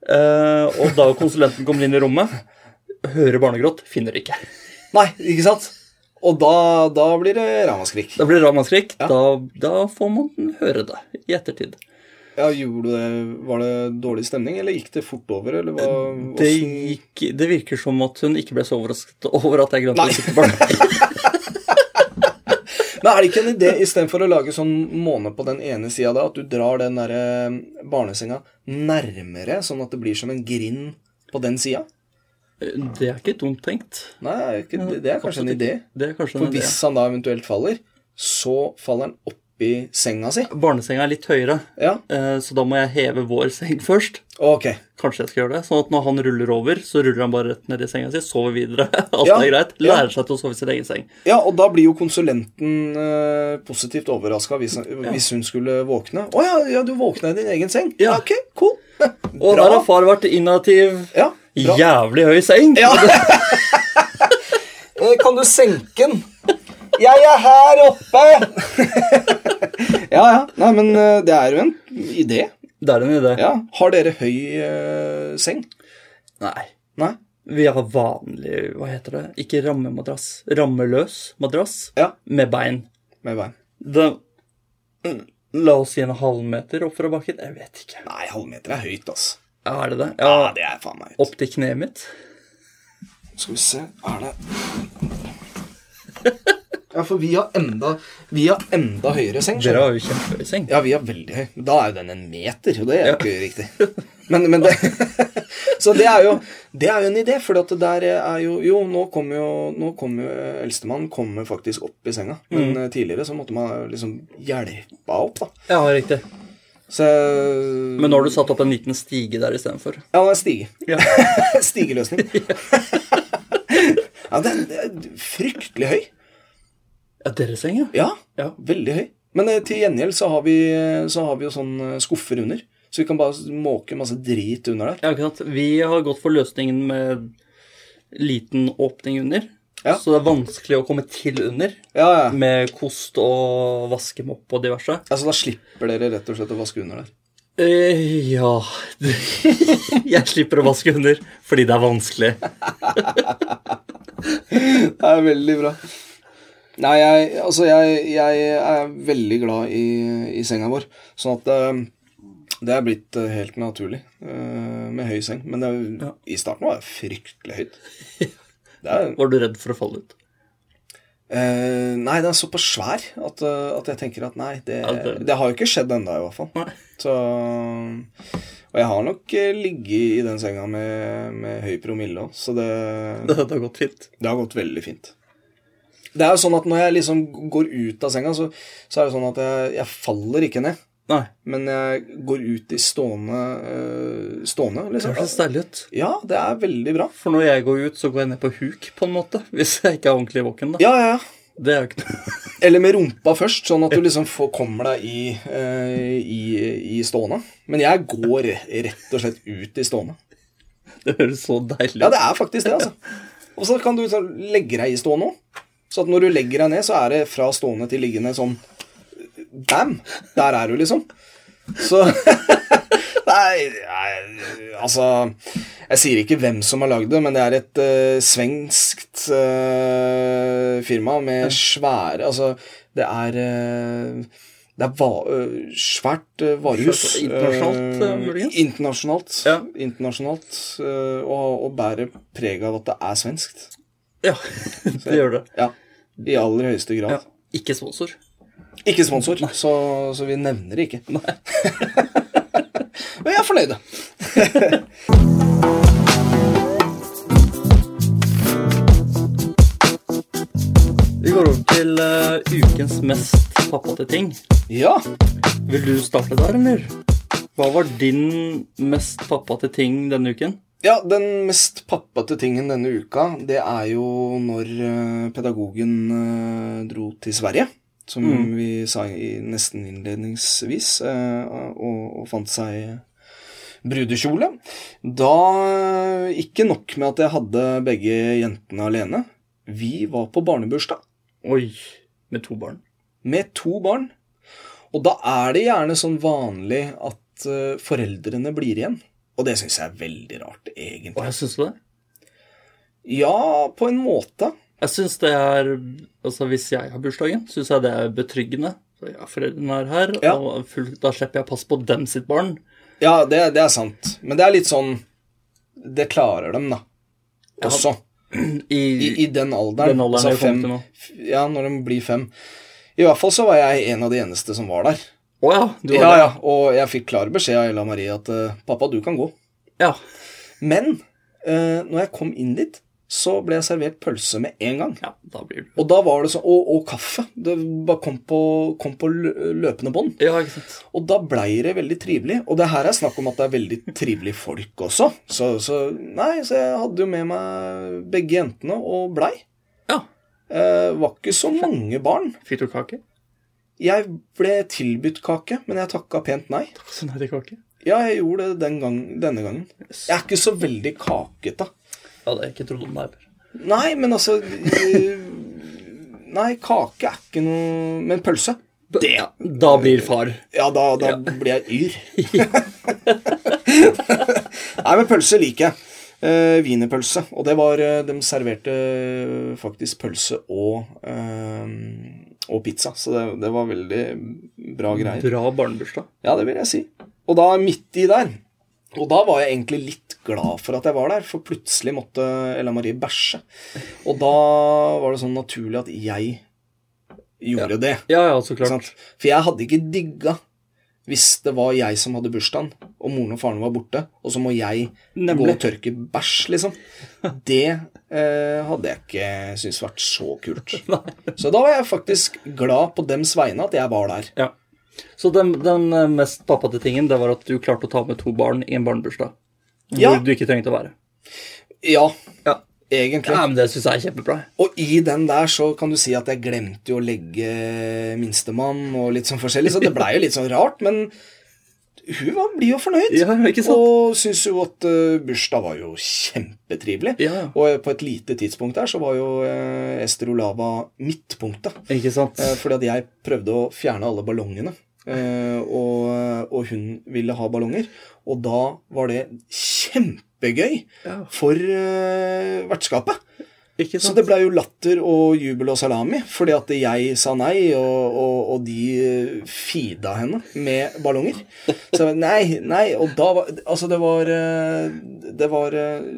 eh, og da konsulenten kommer inn i rommet, hører barnegråt, finner det ikke. Nei, ikke sant? Og da, da blir det ramaskrik. Da blir det ramaskrik. Da, da får man høre det i ettertid. Ja, gjorde du det Var det dårlig stemning, eller gikk det fort over, eller hva Eh, Det, hvordan- gikk, det virker som at hun ikke ble så overrasket over at jeg glemte å sitte barn. Men er det ikke en idé, istedenfor å lage sånn måne på den ene sida da, at du drar den derre barnesenga nærmere, sånn at det blir som en grind på den sida? Eh, Det er ikke dumt tenkt. Nei, er ikke, det- det er kanskje en Absolutt idé. ikke. Det er kanskje For en idé. hvis han da eventuelt faller, så faller han oppi senga si. Barnesenga er litt høyere, Ja, eh, så da må jeg heve vår seng først. ok. Kanskje jeg skal gjøre det. Sånn at når han ruller over, så ruller han bare rett ned i senga si, sover videre. Alt Ja, er greit. ja. Lærer seg til å sove i sin egen seng. Ja, og da blir jo konsulenten eh, positivt overraska hvis, hvis hun skulle våkne. 'Å ja, ja, du våkna i din egen seng?' Ja, Ja. ok, cool. Bra. Og der har far vært innovativ. Ja, bra. Eh, Jævlig høy seng. Ja. Eh, Kan du senke den? Jeg er her oppe! ja, ja. Nei, men eh, det er jo en idé. Det er en idé. Ja. Har dere høy eh, seng? Nei. Nei? Vi har vanlig, hva heter det, ikke rammemadrass. Rammeløs madrass Ja. med bein. Med bein. Det, la oss si en halvmeter opp fra bakken. Jeg vet ikke. Nei, halvmeter er høyt, ass. Ja, Er det det? Ja, Ja, det er faen meg høyt. opp til kneet mitt. Skal vi se Er det Ja, for vi har enda Vi har enda høyere seng. skjønner du. Dere har jo kjempehøy seng. Ja, vi er veldig høy. Da er jo den en meter, og det er jo ikke riktig. Men, men det, så det er, jo, det er jo en idé, for at det der er jo Jo, nå kommer jo, nå kommer jo eh, eldstemann kommer faktisk opp i senga. Mm. Men eh, tidligere så måtte man liksom hjelpa opp, da. Ja, riktig. Så Men nå har du satt opp en liten stige der istedenfor. Ja, det er stige. Ja. Stigeløsning. ja, den er fryktelig høy. ja, deres seng, ja. Ja, Ja. veldig høy. Men eh, til gjengjeld så har vi, så har vi jo sånn eh, skuffer under. Så vi kan bare måke masse drit under der. ja ikke sant? Vi har gått for løsningen med liten åpning under. Ja. Så det er vanskelig å komme til under Ja, ja. med kost og vaskemopp og diverse. Ja, Så Mm. Altså, da slipper dere rett og slett å vaske under der? Eh, ja Jeg slipper å vaske under fordi det er vanskelig. Det er veldig bra. Nei, jeg, altså jeg, jeg er veldig glad i, i senga vår. Sånn at eh, det er blitt eh, helt naturlig eh, med høy seng. Men det, er jo- i starten var det fryktelig høyt. Det er, Var du redd for å falle ut? eh, nei, den er såpass svær at, eh, at jeg tenker at nei, det, Ja, det- det har jo ikke skjedd ennå, i hvert fall. Nei. Så, og jeg har nok eh, ligget i den senga med, med høy promille òg, så det Det har gått fint. Det har gått veldig fint. Det er jo sånn at når jeg liksom går ut av senga, så, så er det sånn at jeg, jeg faller ikke ned. Nei. Men jeg går ut i stående øh, Stående, Det liksom. høres deilig ut. Ja, det er veldig bra. For når jeg går ut, så går jeg ned på huk, på en måte. Hvis jeg ikke er ordentlig våken, da. Ja, ja, ja. Det er jo ikke noe Eller med rumpa først, sånn at du liksom får, kommer deg i, øh, i, i stående. Men jeg går rett og slett ut i stående. Det høres så deilig ut. Ja, det er faktisk det, altså. Og så kan du sånn legge deg i stående òg. Så at når du legger deg ned, så er det fra stående til liggende sånn Bam! Der er du, liksom. Så Nei, nei, altså Jeg sier ikke hvem som har lagd det, men det er et uh, svenskt eh, firma med svære Altså, det er eh, det er va eh, svært eh, varehus. Svært internasjonalt, eh, eh, muligens? Internasjonalt. Ja. internasjonalt eh, og, og bærer preg av at det er svenskt. Ja, det gjør det. Ja, I aller høyeste grad. Ja. Ikke sponsor. Ikke sponsor, så, så vi nevner det ikke. Men jeg er fornøyd. Vi går over til eh, ukens mest pappate ting. Ja. Vil du starte der, eller? Hva var din mest pappate ting denne uken? ja, den mest pappate tingen denne uka, det er jo når eh, pedagogen eh, dro til Sverige. Som vi sa i nesten innledningsvis, eh, og, og fant seg brudekjole. Da eh, Ikke nok med at jeg hadde begge jentene alene. Vi var på barnebursdag. Oi. Med to barn. med to barn. Og da er det gjerne sånn vanlig at eh, foreldrene blir igjen. Og det syns jeg er veldig rart, egentlig. Og jeg syns det. Ja, på en måte. Jeg syns det er Altså, hvis jeg har bursdagen, syns jeg det er betryggende. Så Ja, foreldrene er her, Ja. og full, da slipper jeg å passe på dem sitt barn. Ja, det, det er sant. Men det er litt sånn Det klarer dem, da. Også. I, I, i den alderen. Den alderen jeg kom fem, til nå. f- Ja, når de blir fem. I hvert fall så var jeg en av de eneste som var der. Å ja, du var Ja, der. ja, Og jeg fikk klar beskjed av Ella Marie at eh, 'pappa, du kan gå'. Ja. Men eh, når jeg kom inn dit, så ble jeg servert pølse med en gang. ja, da blir du Og da var det sånn, og, og kaffe. Det bare kom på, kom på lø- løpende bånd. Ja, ikke sant. Og da blei det veldig trivelig. Og det her er snakk om at det er veldig trivelige folk også. Så, så nei, så jeg hadde jo med meg begge jentene og blei. Ja. Eh, var ikke så mange barn. Fikk du kake? Jeg ble tilbudt kake, men jeg takka pent nei. Så nei til kake? Ja, jeg gjorde det den gang, denne gangen. Jeg er ikke så veldig kakete. Ja, det hadde jeg ikke trodd om deg før. Nei, men altså eh, Nei, kake er ikke noe Men pølse? Det, da blir far. Ja, da, da blir jeg yr. Nei, men pølse liker jeg. Eh, Wienerpølse. Og det var eh, De serverte eh, faktisk pølse og eh, og pizza, så det, det var veldig bra greier. Bra barnebursdag. Ja, det vil jeg si. Og da midt i der Og da var jeg egentlig litt glad for at jeg var der, for plutselig måtte Ella Marie bæsje. Og da var det sånn naturlig at jeg gjorde det. Ja, ja, så ikke klart. Sant? For jeg hadde ikke digga hvis det var jeg som hadde bursdagen, og moren og faren var borte, og så må jeg Nemlig. gå og tørke bæsj, liksom. Det eh, hadde jeg ikke syntes vært så kult. Så da var jeg faktisk glad på dems vegne at jeg var der. Ja. Så den, den eh, mest pappate tingen, det var at du klarte å ta med to barn i en barnebursdag. Hvor Ja. du ikke trengte å være. Ja, Ja, egentlig. men Det syns jeg er kjempebra. Og i den der så kan du si at jeg glemte jo å legge minstemann og litt sånn forskjellig, så det blei jo litt sånn rart, men hun var blid og fornøyd. Ja, ikke sant? Og syns jo at uh, bursdag var jo kjempetrivelig. Ja, ja. Og eh, på et lite tidspunkt der så var jo eh, Ester Olava midtpunktet. Ikke sant? Eh, fordi at jeg prøvde å fjerne alle ballongene. eh, og, og hun ville ha ballonger. Og da var det kjempegøy Ja. for eh, vertskapet. Ikke Så sant? det blei jo latter og jubel og salami, fordi at jeg sa nei, og, og, og de eh, feeda henne med ballonger. Så jeg, nei, nei, og da var Altså, det var eh, Det var eh,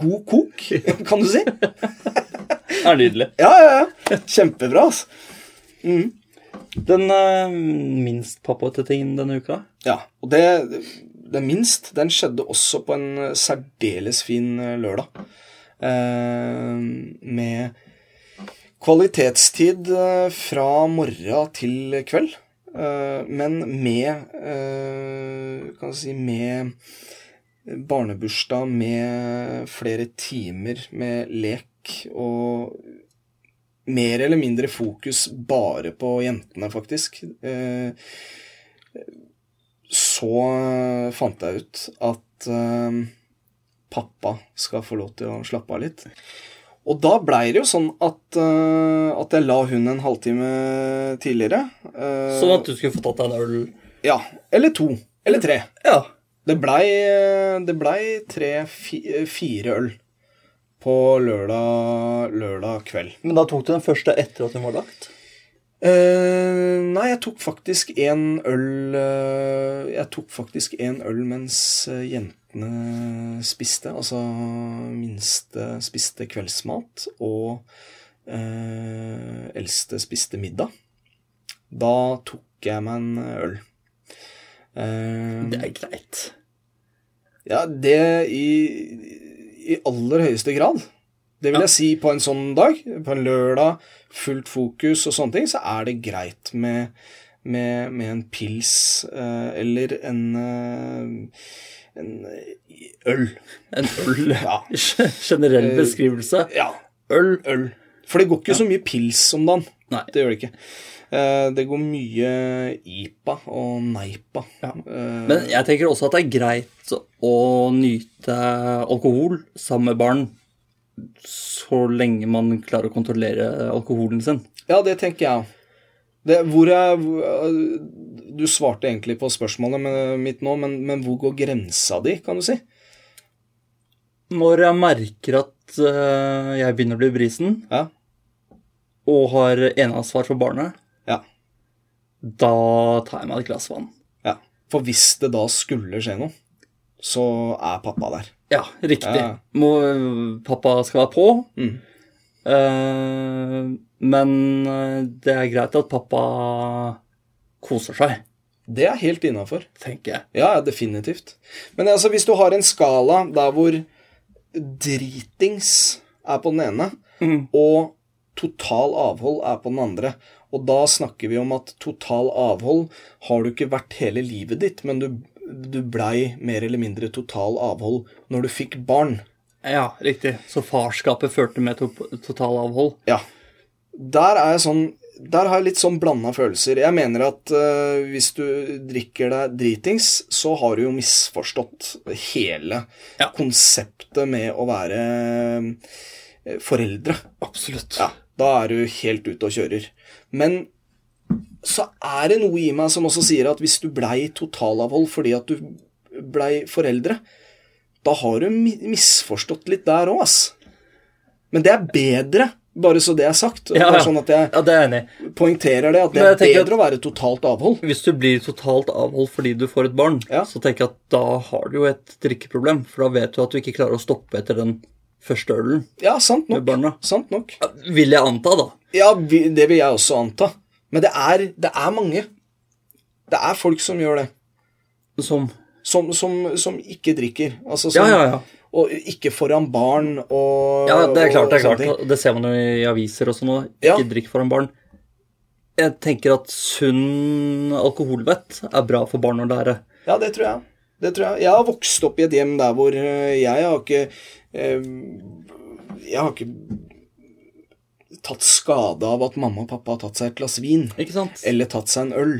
god kok, kan du si. Det er nydelig. Ja, ja, ja. Kjempebra, altså. Den eh, minst pappate tingen denne uka? Ja, og det, det minst, den skjedde også på en særdeles fin lørdag. Eh, med kvalitetstid eh, fra morgen til kveld. Eh, men med eh, Kan du si med barnebursdag, med flere timer med lek og mer eller mindre fokus bare på jentene, faktisk. Eh, så eh, fant jeg ut at eh, pappa skal få lov til å slappe av litt. Og da blei det jo sånn at, eh, at jeg la hun en halvtime tidligere. eh, Sånn at du skulle få tatt deg en øl? Ja. Eller to. Eller tre. Ja. Det blei, eh, det blei tre, fi, eh, fire øl på lørdag, lørdag kveld. Men da tok du den første etter at hun var lagt? Eh, nei, jeg tok faktisk en øl eh, Jeg tok faktisk en øl mens eh, jentene spiste. Altså minste spiste kveldsmat, og eh, eldste spiste middag. Da tok jeg meg en øl. Eh, Det er greit. ja, det i, i aller høyeste grad. Det vil jeg si på en sånn dag, på en lørdag, fullt fokus og sånne ting, så er det greit med, med, med en pils eh, eller en, eh, en eh, øl. En øl. Ja. Generell beskrivelse. Ja, Øl. øl. For det går ikke så mye pils om dagen. Nei. Det gjør det ikke. Eh, det går mye IPA og NEIPA. Ja. Eh, Men jeg tenker også at det er greit å nyte alkohol sammen med barn så lenge man klarer å kontrollere alkoholen sin. Ja, det tenker jeg òg. Hvor er hvor- Du svarte egentlig på spørsmålet med- mitt nå, men, men hvor går grensa di, kan du si? Når jeg merker at eh, jeg begynner å bli brisen Ja. og har eneansvar for barnet, ja. da tar jeg meg et glass vann. ja. For hvis det da skulle skje noe, så er pappa der. Ja, riktig. Ja. Må, pappa skal være på. Mm. Eh, Men eh, det er greit at pappa koser seg, Det er helt innafor. tenker jeg. Ja, ja, definitivt. Men altså, hvis du har en skala der hvor dritings er på den ene, og total avhold er på den andre, og da snakker vi om at total avhold har du ikke vært hele livet ditt, men du, du blei mer eller mindre total avhold når du fikk barn. Ja, riktig. Så farskapet førte med to totalavhold. Ja. Der er jeg sånn Der har jeg litt sånn blanda følelser. Jeg mener at eh, hvis du drikker deg dritings, så har du jo misforstått hele Ja. konseptet med å være eh, foreldre. Absolutt. Ja, da er du helt ute og kjører. Men så er det noe i meg som også sier at hvis du blei totalavhold fordi at du blei foreldre, da har du mi- misforstått litt der òg, ass. Men det er bedre, bare så det er sagt. Ja, Bare ja. sånn at jeg Ja, det er jeg enig i. poengterer det, at det Men er jeg tenker bedre å være totalt avhold. Hvis du blir totalt avholdt fordi du får et barn, Ja. så tenker jeg at da har du jo et drikkeproblem. For da vet du at du ikke klarer å stoppe etter den første ølen Ja, sant med nok. barna. Sant nok. Vil jeg anta, da. Ja, vi- det vil jeg også anta. Men det er, det er mange. Det er folk som gjør det. Som Som, som, som ikke drikker. Altså, som, Ja, ja, ja. Og ikke foran barn og Ja, det er klart. Det er og sånne klart. Og Det ser man jo i aviser og sånn òg. Ja. Ikke drikk foran barn. Jeg tenker at sunn alkoholvett er bra for barn å lære. ting. Ja, det tror jeg. Det tror jeg. Jeg har vokst opp i et hjem der hvor eh, jeg har ikke eh, Jeg har ikke tatt skade av at mamma og pappa har tatt seg et glass vin. Ikke sant? Eller tatt seg en øl.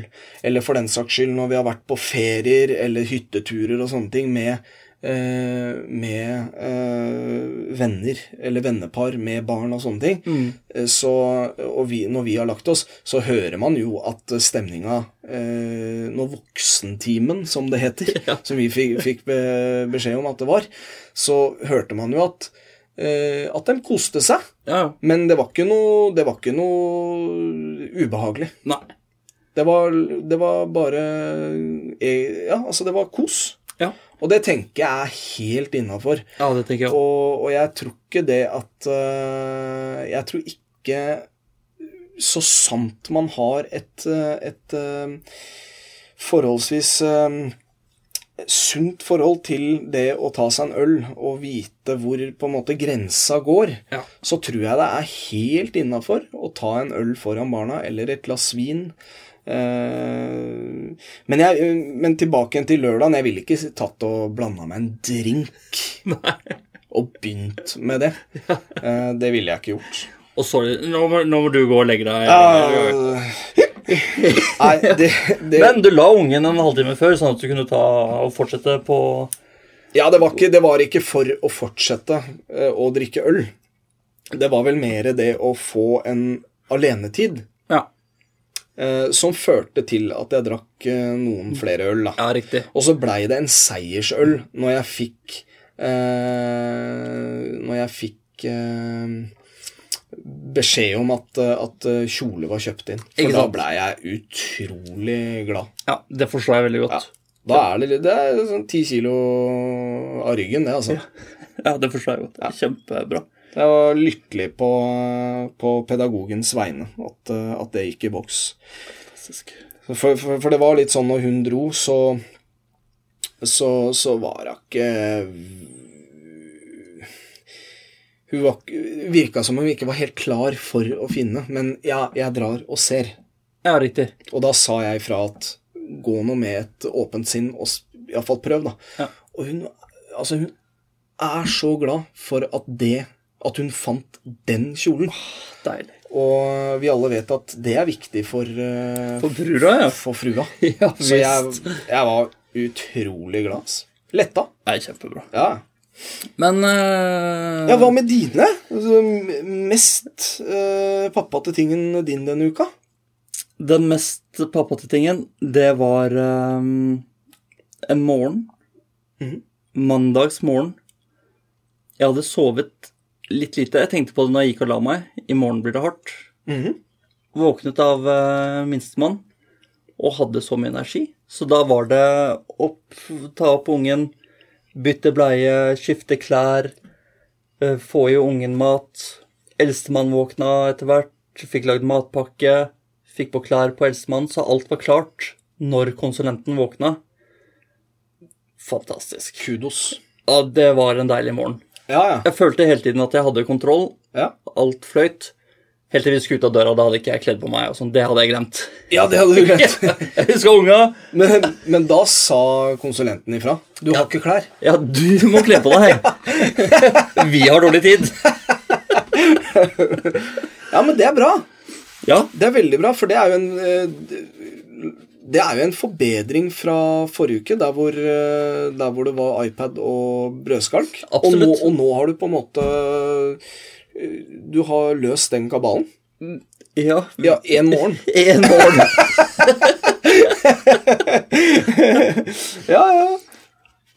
Eller for den saks skyld når vi har vært på ferier eller hytteturer og sånne ting med, eh, med eh, venner eller vennepar med barn og sånne ting. Eh, Så, og vi, når vi har lagt oss, så hører man jo at stemninga eh, Når voksentimen, som det heter, som vi fikk, fikk be, beskjed om at det var, så hørte man jo at, eh, at de koste seg. Ja, ja. Men det var ikke noe, det var ikke noe ubehagelig. Nei. Det var, det var bare eh, Ja, altså, det var kos. Ja. Og det tenker jeg er helt innafor. ja, det tenker jeg òg. Og, og jeg tror ikke det at eh, Jeg tror ikke Så sant man har et, eh, et eh, forholdsvis eh, sunt forhold til det å ta seg en øl og vite hvor på en måte grensa går, Ja. så tror jeg det er helt innafor å ta en øl foran barna eller et glass vin. Eh, Men, jeg, men tilbake igjen til lørdagen. Jeg ville ikke tatt og blanda meg en drink og begynt med det. Eh, Det ville jeg ikke gjort. Og sorry, nå må, nå må du gå og legge deg. Nei, det, det Men du la ungen en halvtime før, sånn at du kunne ta og fortsette på Ja, det var, ikke, det var ikke for å fortsette eh, å drikke øl. Det var vel mer det å få en alenetid Ja, eh, som førte til at jeg drakk eh, noen flere øl, da. ja riktig. Og så blei det en seiersøl når jeg fikk eh, Når jeg fikk eh, beskjed om at, eh, at eh, kjole var kjøpt inn. Ikke For da sant? blei jeg utrolig glad. Ja, Det forstår jeg veldig godt. Da er det, det er sånn ti kilo av ryggen, det, altså. Ja, det forstår jeg godt. Kjempebra. Jeg var lykkelig på, på pedagogens vegne at, eh, at det gikk i boks. Fantastisk. For, for, for det var litt sånn når hun dro, så Så, så var hun ikke Hun var, ikke- virka som hun ikke var helt klar for å finne, men ja, jeg drar og ser. Ja, riktig. Og da sa jeg ifra at gå nå med et åpent sinn, og s- i hvert fall prøv, da. Ja. Og hun, altså, hun er så glad for at det At hun fant den kjolen. Deilig. Og vi alle vet at det er viktig for eh, For brura, ja. for frua. Ja, Så jeg, jeg var utrolig glad. ass. Letta. Nei, kjempebra. Ja. Men eh, ja, hva med dine? Altså, m- Mest eh, pappa til tingen din denne uka? Den mest pappatittingen, det var eh, en morgen. Mhm. Mandagsmorgen. Jeg hadde sovet litt lite. Jeg tenkte på det når jeg gikk og la meg. I morgen blir det hardt. Mhm. Våknet av eh, minstemann og hadde så mye energi. Så da var det opp, ta opp ungen, bytte bleie, skifte klær, eh, få i ungen mat. Eldstemann våkna etter hvert. fikk lagd matpakke, fikk på klær på Elsemann, så alt var klart når konsulenten våkna. Fantastisk. Kudos. Ja, det var en deilig morgen. Ja, ja. Jeg følte hele tiden at jeg hadde kontroll, Ja, alt fløyt. Helt til vi skulle ut av døra, da hadde ikke jeg kledd på meg. og sånn, Det hadde jeg glemt. ja det hadde du glemt. Jeg husker unga. Men, men da sa konsulenten ifra. Du har ikke klær. Ja, du må kle på deg. Vi har dårlig tid. Ja, men det er bra. Ja, Det er veldig bra, for det er jo en eh, Det er jo en forbedring fra forrige uke, der hvor, eh, der hvor det var iPad og brødskalk. Og nå, Absolutt. og nå har du på en måte eh, Du har løst den kabalen. ja. Ja, én morgen. En morgen. Ja, ja.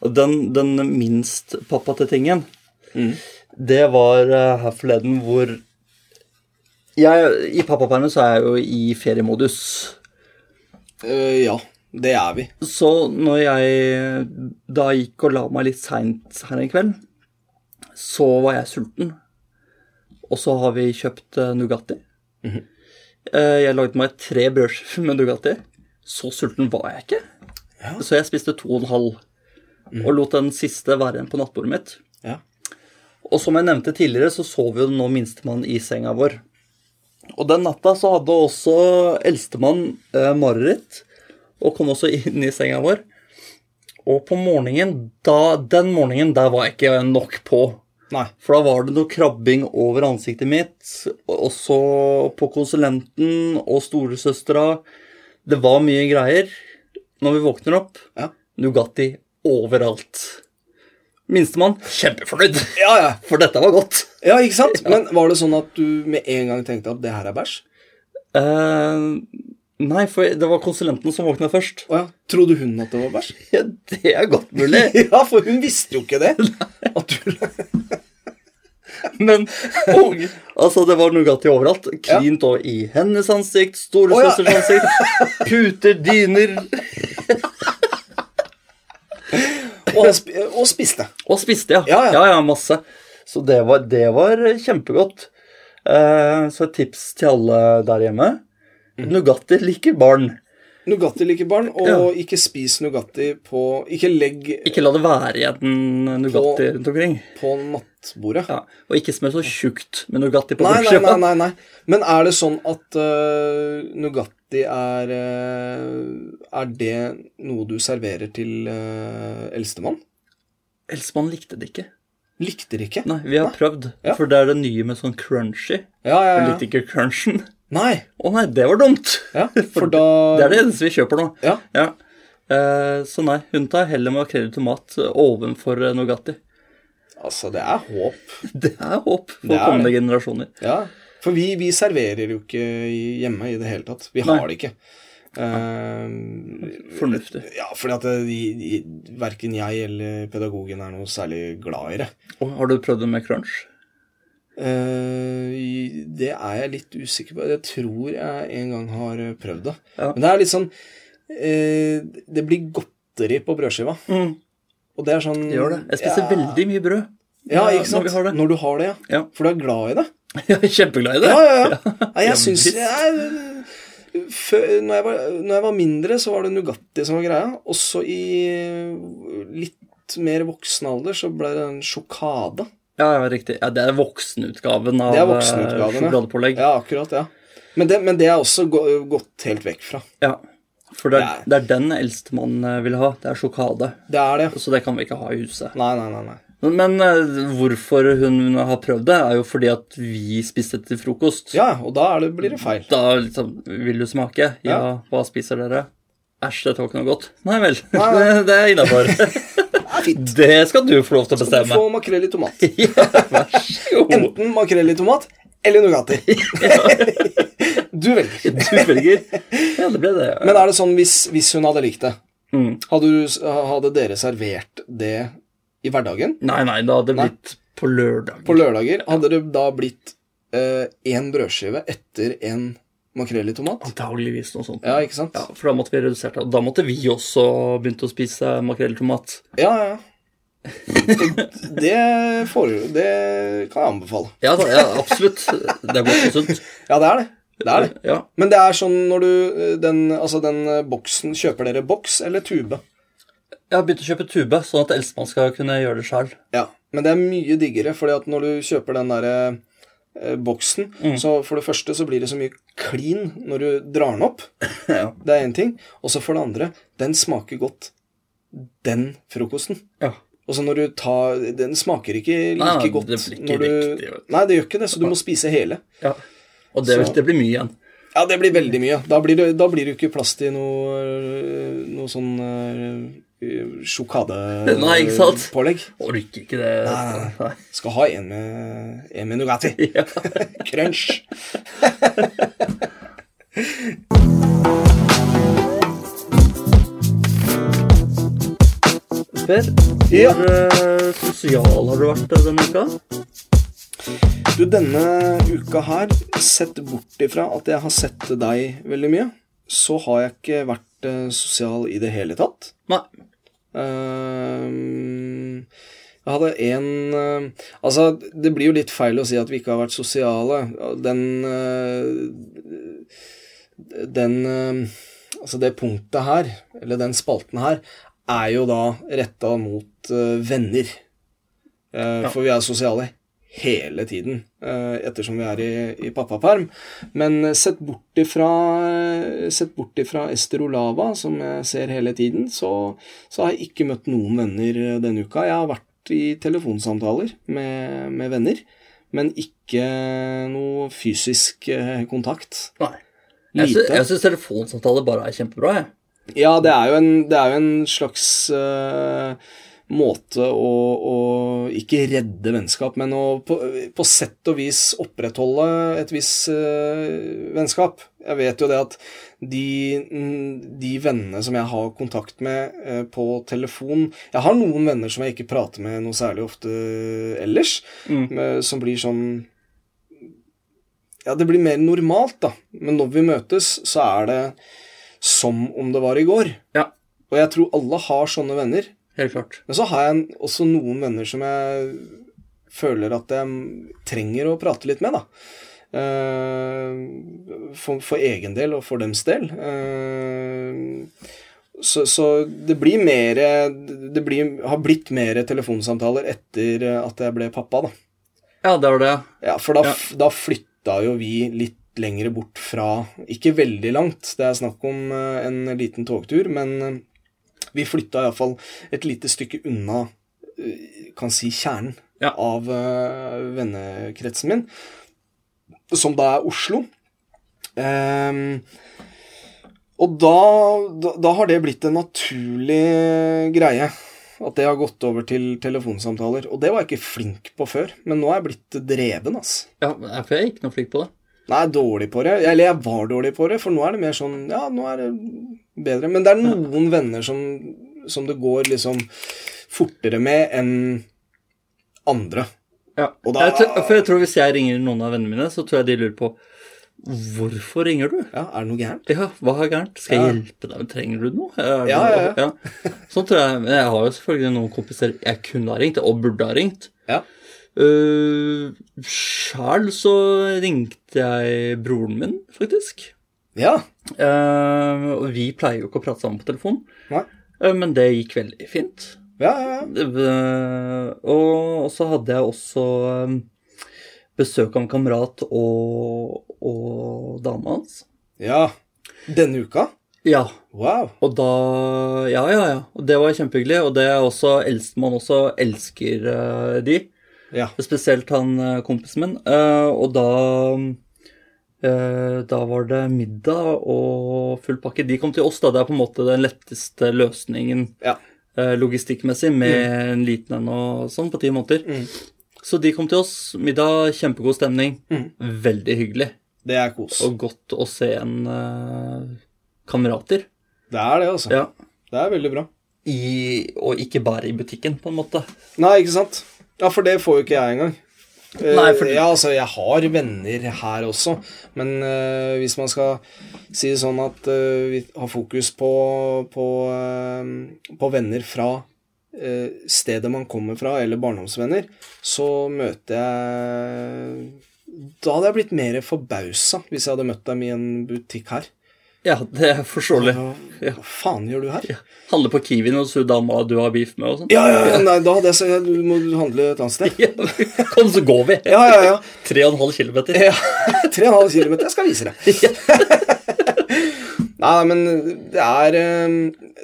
Og Den, den minst pappatete-tingen, det var eh, her forleden hvor jeg, I pappapermen så er jeg jo i feriemodus. Eh, ja, det er vi. Så når jeg da gikk og la meg litt seint her en kveld, så var jeg sulten. Og så har vi kjøpt eh, Nugatti. Eh, Jeg lagde meg tre brødskiver med Nugatti. Så sulten var jeg ikke. Så jeg spiste to og en halv. Og lot den siste være igjen på nattbordet mitt. Ja. Og som jeg nevnte tidligere, så sov jo nå minstemann i senga vår. Og den natta så hadde også eldstemann eh, mareritt, og kom også inn i senga vår. Og på morgenen, da, den morgenen, der var jeg ikke nok på. Nei. For da var det noe krabbing over ansiktet mitt, og- også på konsulenten og storesøstera. Det var mye greier. Når vi våkner opp, Ja. Nugatti overalt. Minstemann kjempefornøyd, Ja, ja. for dette var godt. ja, ikke sant? Men var det sånn at du med en gang tenkte at det her er bæsj? Eh, nei, for det var konsulenten som våkna først. Å ja. Trodde hun at det var bæsj? Ja, det er godt mulig. Ja, for hun visste jo ikke det. At du... Men og, altså, det var Nugatti overalt. Klint og i hennes ansikt, storesøsters ansikt, puter, dyner og, sp- og spiste. Og spiste, ja. Ja, ja. masse. Så det var, det var kjempegodt. Eh, så et tips til alle der hjemme. Mm. Nugatti liker barn. Nugatti liker barn, og Ja. ikke spis Nugatti på Ikke legg Ikke la det være igjen eh, Nugatti rundt omkring. på nattbordet. Ja. Og ikke smør så tjukt med Nugatti på Nei, nei, brødskiva. nei, nei, nei. Men er det sånn at uh, Nugatti er eh, Er det noe du serverer til eh, eldstemann? Elsemann likte det ikke. Likte det ikke? Nei, vi har prøvd. Ja. For det er det nye med sånn crunchy. Ja, ja, Jeg ja. likte ikke crunchen. Nei. Å nei, det var dumt! Ja, for For da Det er det eneste vi kjøper nå. Ja. Eh, så nei, hun tar heller makrell i tomat ovenfor eh, Nugatti. Altså, det er håp. Det er håp for Det er kommende generasjoner. Ja. For vi, vi serverer jo ikke hjemme i det hele tatt. Vi har det ikke. Eh, Fornuftig. Ja, fordi at det- de, de, verken jeg eller pedagogen er noe særlig glad i det. Og har du prøvd det med crunch? Eh, i- det er jeg litt usikker på. Jeg tror jeg en gang har eh, prøvd det. Ja. Men det er litt sånn eh, Det blir godteri på brødskiva. Og det er sånn Gjør det. Mm. Jeg spiser ja, veldig mye brød. Ja, når- ikke sant? Når vi har det. Når du har det, ja. Ja. For du er glad i det. Jeg er kjempeglad i det. Ja, ja, ja. Nei, jeg syns visst. jeg, før, når, jeg var, når jeg var mindre, så var det Nugatti som var greia. Også i litt mer voksen alder så ble det en sjokade. Ja, ja, riktig. Ja, det er voksenutgaven av Det er eh, voksenutgaven, ja. sjokoladepålegg. Ja, akkurat, ja. Men det, men det er også gå- gått helt vekk fra. Ja. For det Nei. er, det er den eldstemann eh, vil ha. Det er sjokade. Det er det. Så det kan vi ikke ha i huset. Nei, nei, nei. nei. Men, men eh, hvorfor hun har prøvd det, er jo fordi at vi spiste det til frokost. Ja, og da er det, blir det feil. Da liksom Vil du smake? Ja, Ja. hva spiser dere? Æsj, dette var ikke noe godt. Nei vel. Nei, nei. Det, det er innafor. det skal du få lov til å Du bestemme. får makrell i tomat. Ja, vær så god. Enten makrell i tomat eller Nugatti. Du velger. Du velger. Ja, det ble det. Men er det sånn hvis, hvis hun hadde likt det, Mm. hadde, du, hadde dere servert det i hverdagen? Nei, nei, det hadde blitt på lørdag. På lørdager hadde det da blitt én brødskive etter en makrell i tomat. Antageligvis noe sånt. Ja, ikke sant? Ja, for da måtte vi redusert det. Og da måtte vi også begynt å spise makrell i tomat. Ja, ja, ja. Det, får, det kan jeg anbefale. Ja, da, ja absolutt. Det er godt og sunt. Ja, det er det. Det er det. Ja. Men det er sånn når du eh, den, altså den eh, boksen Kjøper dere boks eller tube? Jeg har begynt å kjøpe tube, sånn at eldstemann skal kunne gjøre det sjøl. Ja. Men det er mye diggere, fordi at når du kjøper den derre eh, boksen, så for det første så blir det så mye klin når du drar den opp. Ja. Det er én ting. Og så for det andre, den smaker godt, den frokosten. Ja. Og så når du tar Den smaker ikke like Nei, nei, godt det blir ikke når du riktig, vet Nei, det gjør ikke det, så du må spise hele. ja. Og det, Så- det blir mye igjen. Ja, det blir veldig mye. Da blir det, da blir det jo ikke plass til noe, øh, noe sånn eh, Nei, ikke sant? sjokadepålegg. Orker ikke det. Nei, Nei. Skal ha en med, en med Nugatti. Ja. Crunch. Per, hvor Ja. eh, sosial har du vært eh, denne uka? Du, denne uka her, sett bort ifra at jeg har sett deg veldig mye, så har jeg ikke vært eh, sosial i det hele tatt. Nei. Ehm, jeg hadde en eh, Altså, det blir jo litt feil å si at vi ikke har vært sosiale. Den eh, Den eh, Altså, det punktet her, eller den spalten her, er jo da retta mot eh, venner. Eh, For vi er sosiale hele tiden eh, ettersom vi er i, i pappaperm. Men eh, sett bort ifra, eh, sett bort ifra Ester Olava, som jeg ser hele tiden, så, så har jeg ikke møtt noen venner eh, denne uka. Jeg har vært i telefonsamtaler med, med venner, men ikke noe fysisk eh, kontakt. Nei. Jeg sy- Lite. Jeg syns telefonsamtale bare er kjempebra. jeg. Ja, det er jo en, det er jo en slags eh, måte å, å ikke redde vennskap, men å på, på sett og vis opprettholde et visst eh, vennskap. Jeg vet jo det at de, mm, de vennene som jeg har kontakt med eh, på telefon Jeg har noen venner som jeg ikke prater med noe særlig ofte eh, ellers, men som blir sånn ja, det blir mer normalt, da. Men når vi møtes, så er det som om det var i går. Ja, Og jeg tror alle har sånne venner. helt klart. Men så har jeg en- også noen venner som jeg føler at jeg trenger å prate litt med, da. Eh, For, for egen del og for dems del. Eh, Så, så det blir mer Det blir, har blitt mer telefonsamtaler etter at jeg ble pappa, da. Ja, det var det. ja. Ja, for da, Ja. f- da flytta jo vi litt lengre bort fra Ikke veldig langt, det er snakk om eh, en liten togtur, men eh, vi flytta iallfall et lite stykke unna eh, kan si kjernen Ja. av eh, vennekretsen min, som da er Oslo. Ehm, og da, da, da har det blitt en naturlig eh, greie. At det har gått over til telefonsamtaler. Og det var jeg ikke flink på før, men nå er jeg blitt dreven, ass. Ja, men jeg- for jeg er ikke noe flink på det. Nei, jeg er dårlig på det. Eller jeg var dårlig på det, for nå er det mer sånn Ja, nå er det bedre. Men det er noen venner som, som det går liksom fortere med enn andre. Ja. Og da- Jeg tror, for jeg tror Hvis jeg ringer noen av vennene mine, så tror jeg de lurer på Hvorfor ringer du? Ja, er det noe gærent? Ja, hva er gærent? Skal jeg Ja. hjelpe deg? Trenger du noe? Er det- Ja, ja, ja. Sånn tror jeg. Men jeg har jo selvfølgelig noen kompiser jeg kunne ha ringt, og burde ha ringt. Ja. Uh, Sjæl så ringte jeg broren min, faktisk. Ja. Eh, og vi pleier jo ikke å prate sammen på telefon, Nei. eh, men det gikk veldig fint. Ja, ja, ja. Det- eh, Og og så hadde jeg også eh, besøk av en kamerat og, og dama hans. ja. Denne uka? Ja, Wow. og da Ja, ja, ja. Og det var kjempehyggelig. Og det er også eldstemann også elsker eh, de. Ja. Spesielt han eh, kompisen min. Eh, og da eh, Da var det middag og full pakke. De kom til oss, da. Det er på en måte den letteste løsningen Ja. eh, logistikkmessig med en liten en og sånn på ti måneder. Så de kom til oss. Middag, kjempegod stemning. Veldig hyggelig. Det er kos. Og godt å se en eh, kamerater. Det er det, altså. Ja. Det er veldig bra. I, og ikke bare i butikken, på en måte. Nei, ikke sant? Ja, for det får jo ikke jeg engang. Eh, Nei, for- Ja, altså, jeg har venner her også, men eh, hvis man skal si det sånn at eh, vi har fokus på, på, eh, på venner fra eh, stedet man kommer fra, eller barndomsvenner, så møter jeg Da hadde jeg blitt mer forbausa hvis jeg hadde møtt dem i en butikk her. Ja, det er forståelig. Hva, hva faen gjør du her? Handle på Kiwi når du dama du har beef med og sånn. Ja, ja, ja, nei, da hadde jeg sagt du må handle et annet sted. Kom, så går vi. Ja, ja, ja. 3,5 km. Ja, 3,5 km. Jeg skal vise deg. Nei, men det er, eh,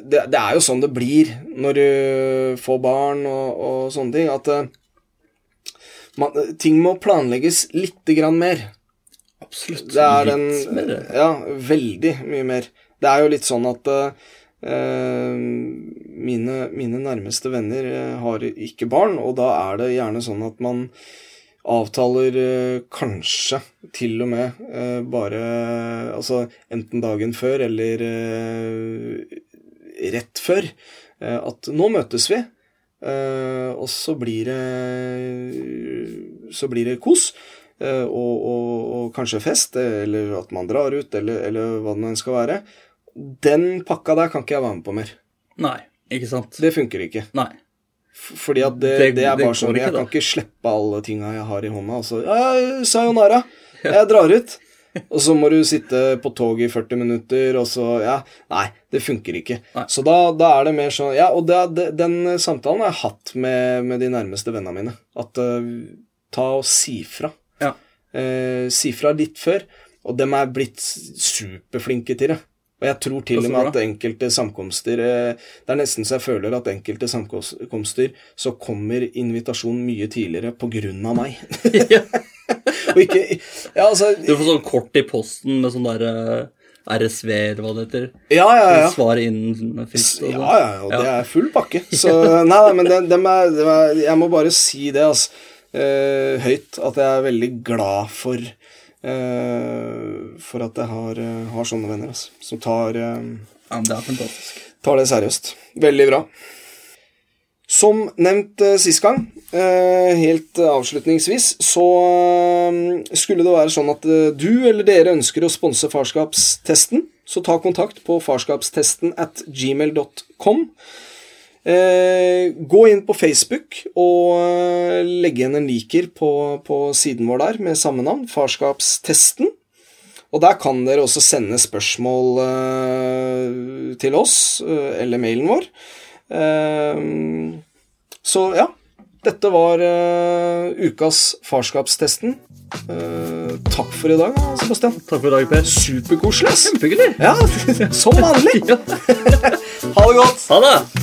det, det er jo sånn det blir når du får barn og, og sånne ting, at eh, man, ting må planlegges lite grann mer. Absolutt. Det er en Litt mer. Ja, veldig mye mer. Det er jo litt sånn at eh, mine, mine nærmeste venner eh, har ikke barn, og da er det gjerne sånn at man avtaler eh, kanskje til og med eh, bare Altså enten dagen før eller eh, rett før eh, at nå møtes vi. eh, og så blir det Så blir det kos. Eh, og, og, og kanskje fest, eller at man drar ut, eller, eller hva det nå enn skal være. Den pakka der kan ikke jeg være med på mer. Nei, ikke sant. Det funker ikke. Nei. F- Fordi at det, det, Det- er det bare går sånn ikke, Jeg da. kan ikke slippe alle tinga jeg har i hånda. Altså, ja, sayonara. Jeg drar ut. Og så må du sitte på toget i 40 minutter, og så Ja, nei, det funker ikke. Nei. Så da, da er det mer sånn Ja, og det, er- det, den samtalen har jeg hatt med, med de nærmeste vennene mine. At eh, ta og si fra. Ja. Eh, si fra litt før, og dem er blitt superflinke til det. Og jeg tror til og Det er så med at bra. enkelte samkomster eh, Det er nesten så jeg føler at enkelte samkomster så kommer invitasjonen mye tidligere på grunn av meg. og ikke Ja, altså Du får sånn kort i posten med sånn der eh, RSV, eller hva det heter. Ja, ja, ja. Svar innen frist Ja, og sånn. ja, ja, og det er full pakke. Så nei, nei men dem- dem er, dem er, jeg må bare si det altså, eh, høyt, at jeg er veldig glad for eh, For at jeg har, eh, har sånne venner altså, som tar, eh, Ja, men det er fantastisk. tar det seriøst. Veldig bra. Som nevnt eh, sist gang, eh, helt eh, avslutningsvis, så eh, skulle det være sånn at eh, du eller dere ønsker å sponse farskapstesten, så ta kontakt på farskapstesten at gmail.com. Eh, gå inn på Facebook og eh, legge igjen en liker på, på siden vår der med samme navn, Farskapstesten. Og der kan dere også sende spørsmål eh, til oss, eh, eller mailen vår. Eh, så ja, dette var eh, ukas Farskapstesten. Eh, takk for i dag, Sebastian. Takk for i dag, Per. Superkoselig, ass. Kjempehyggelig. Ja, som vanlig. Ja. Ha det godt. Ha det!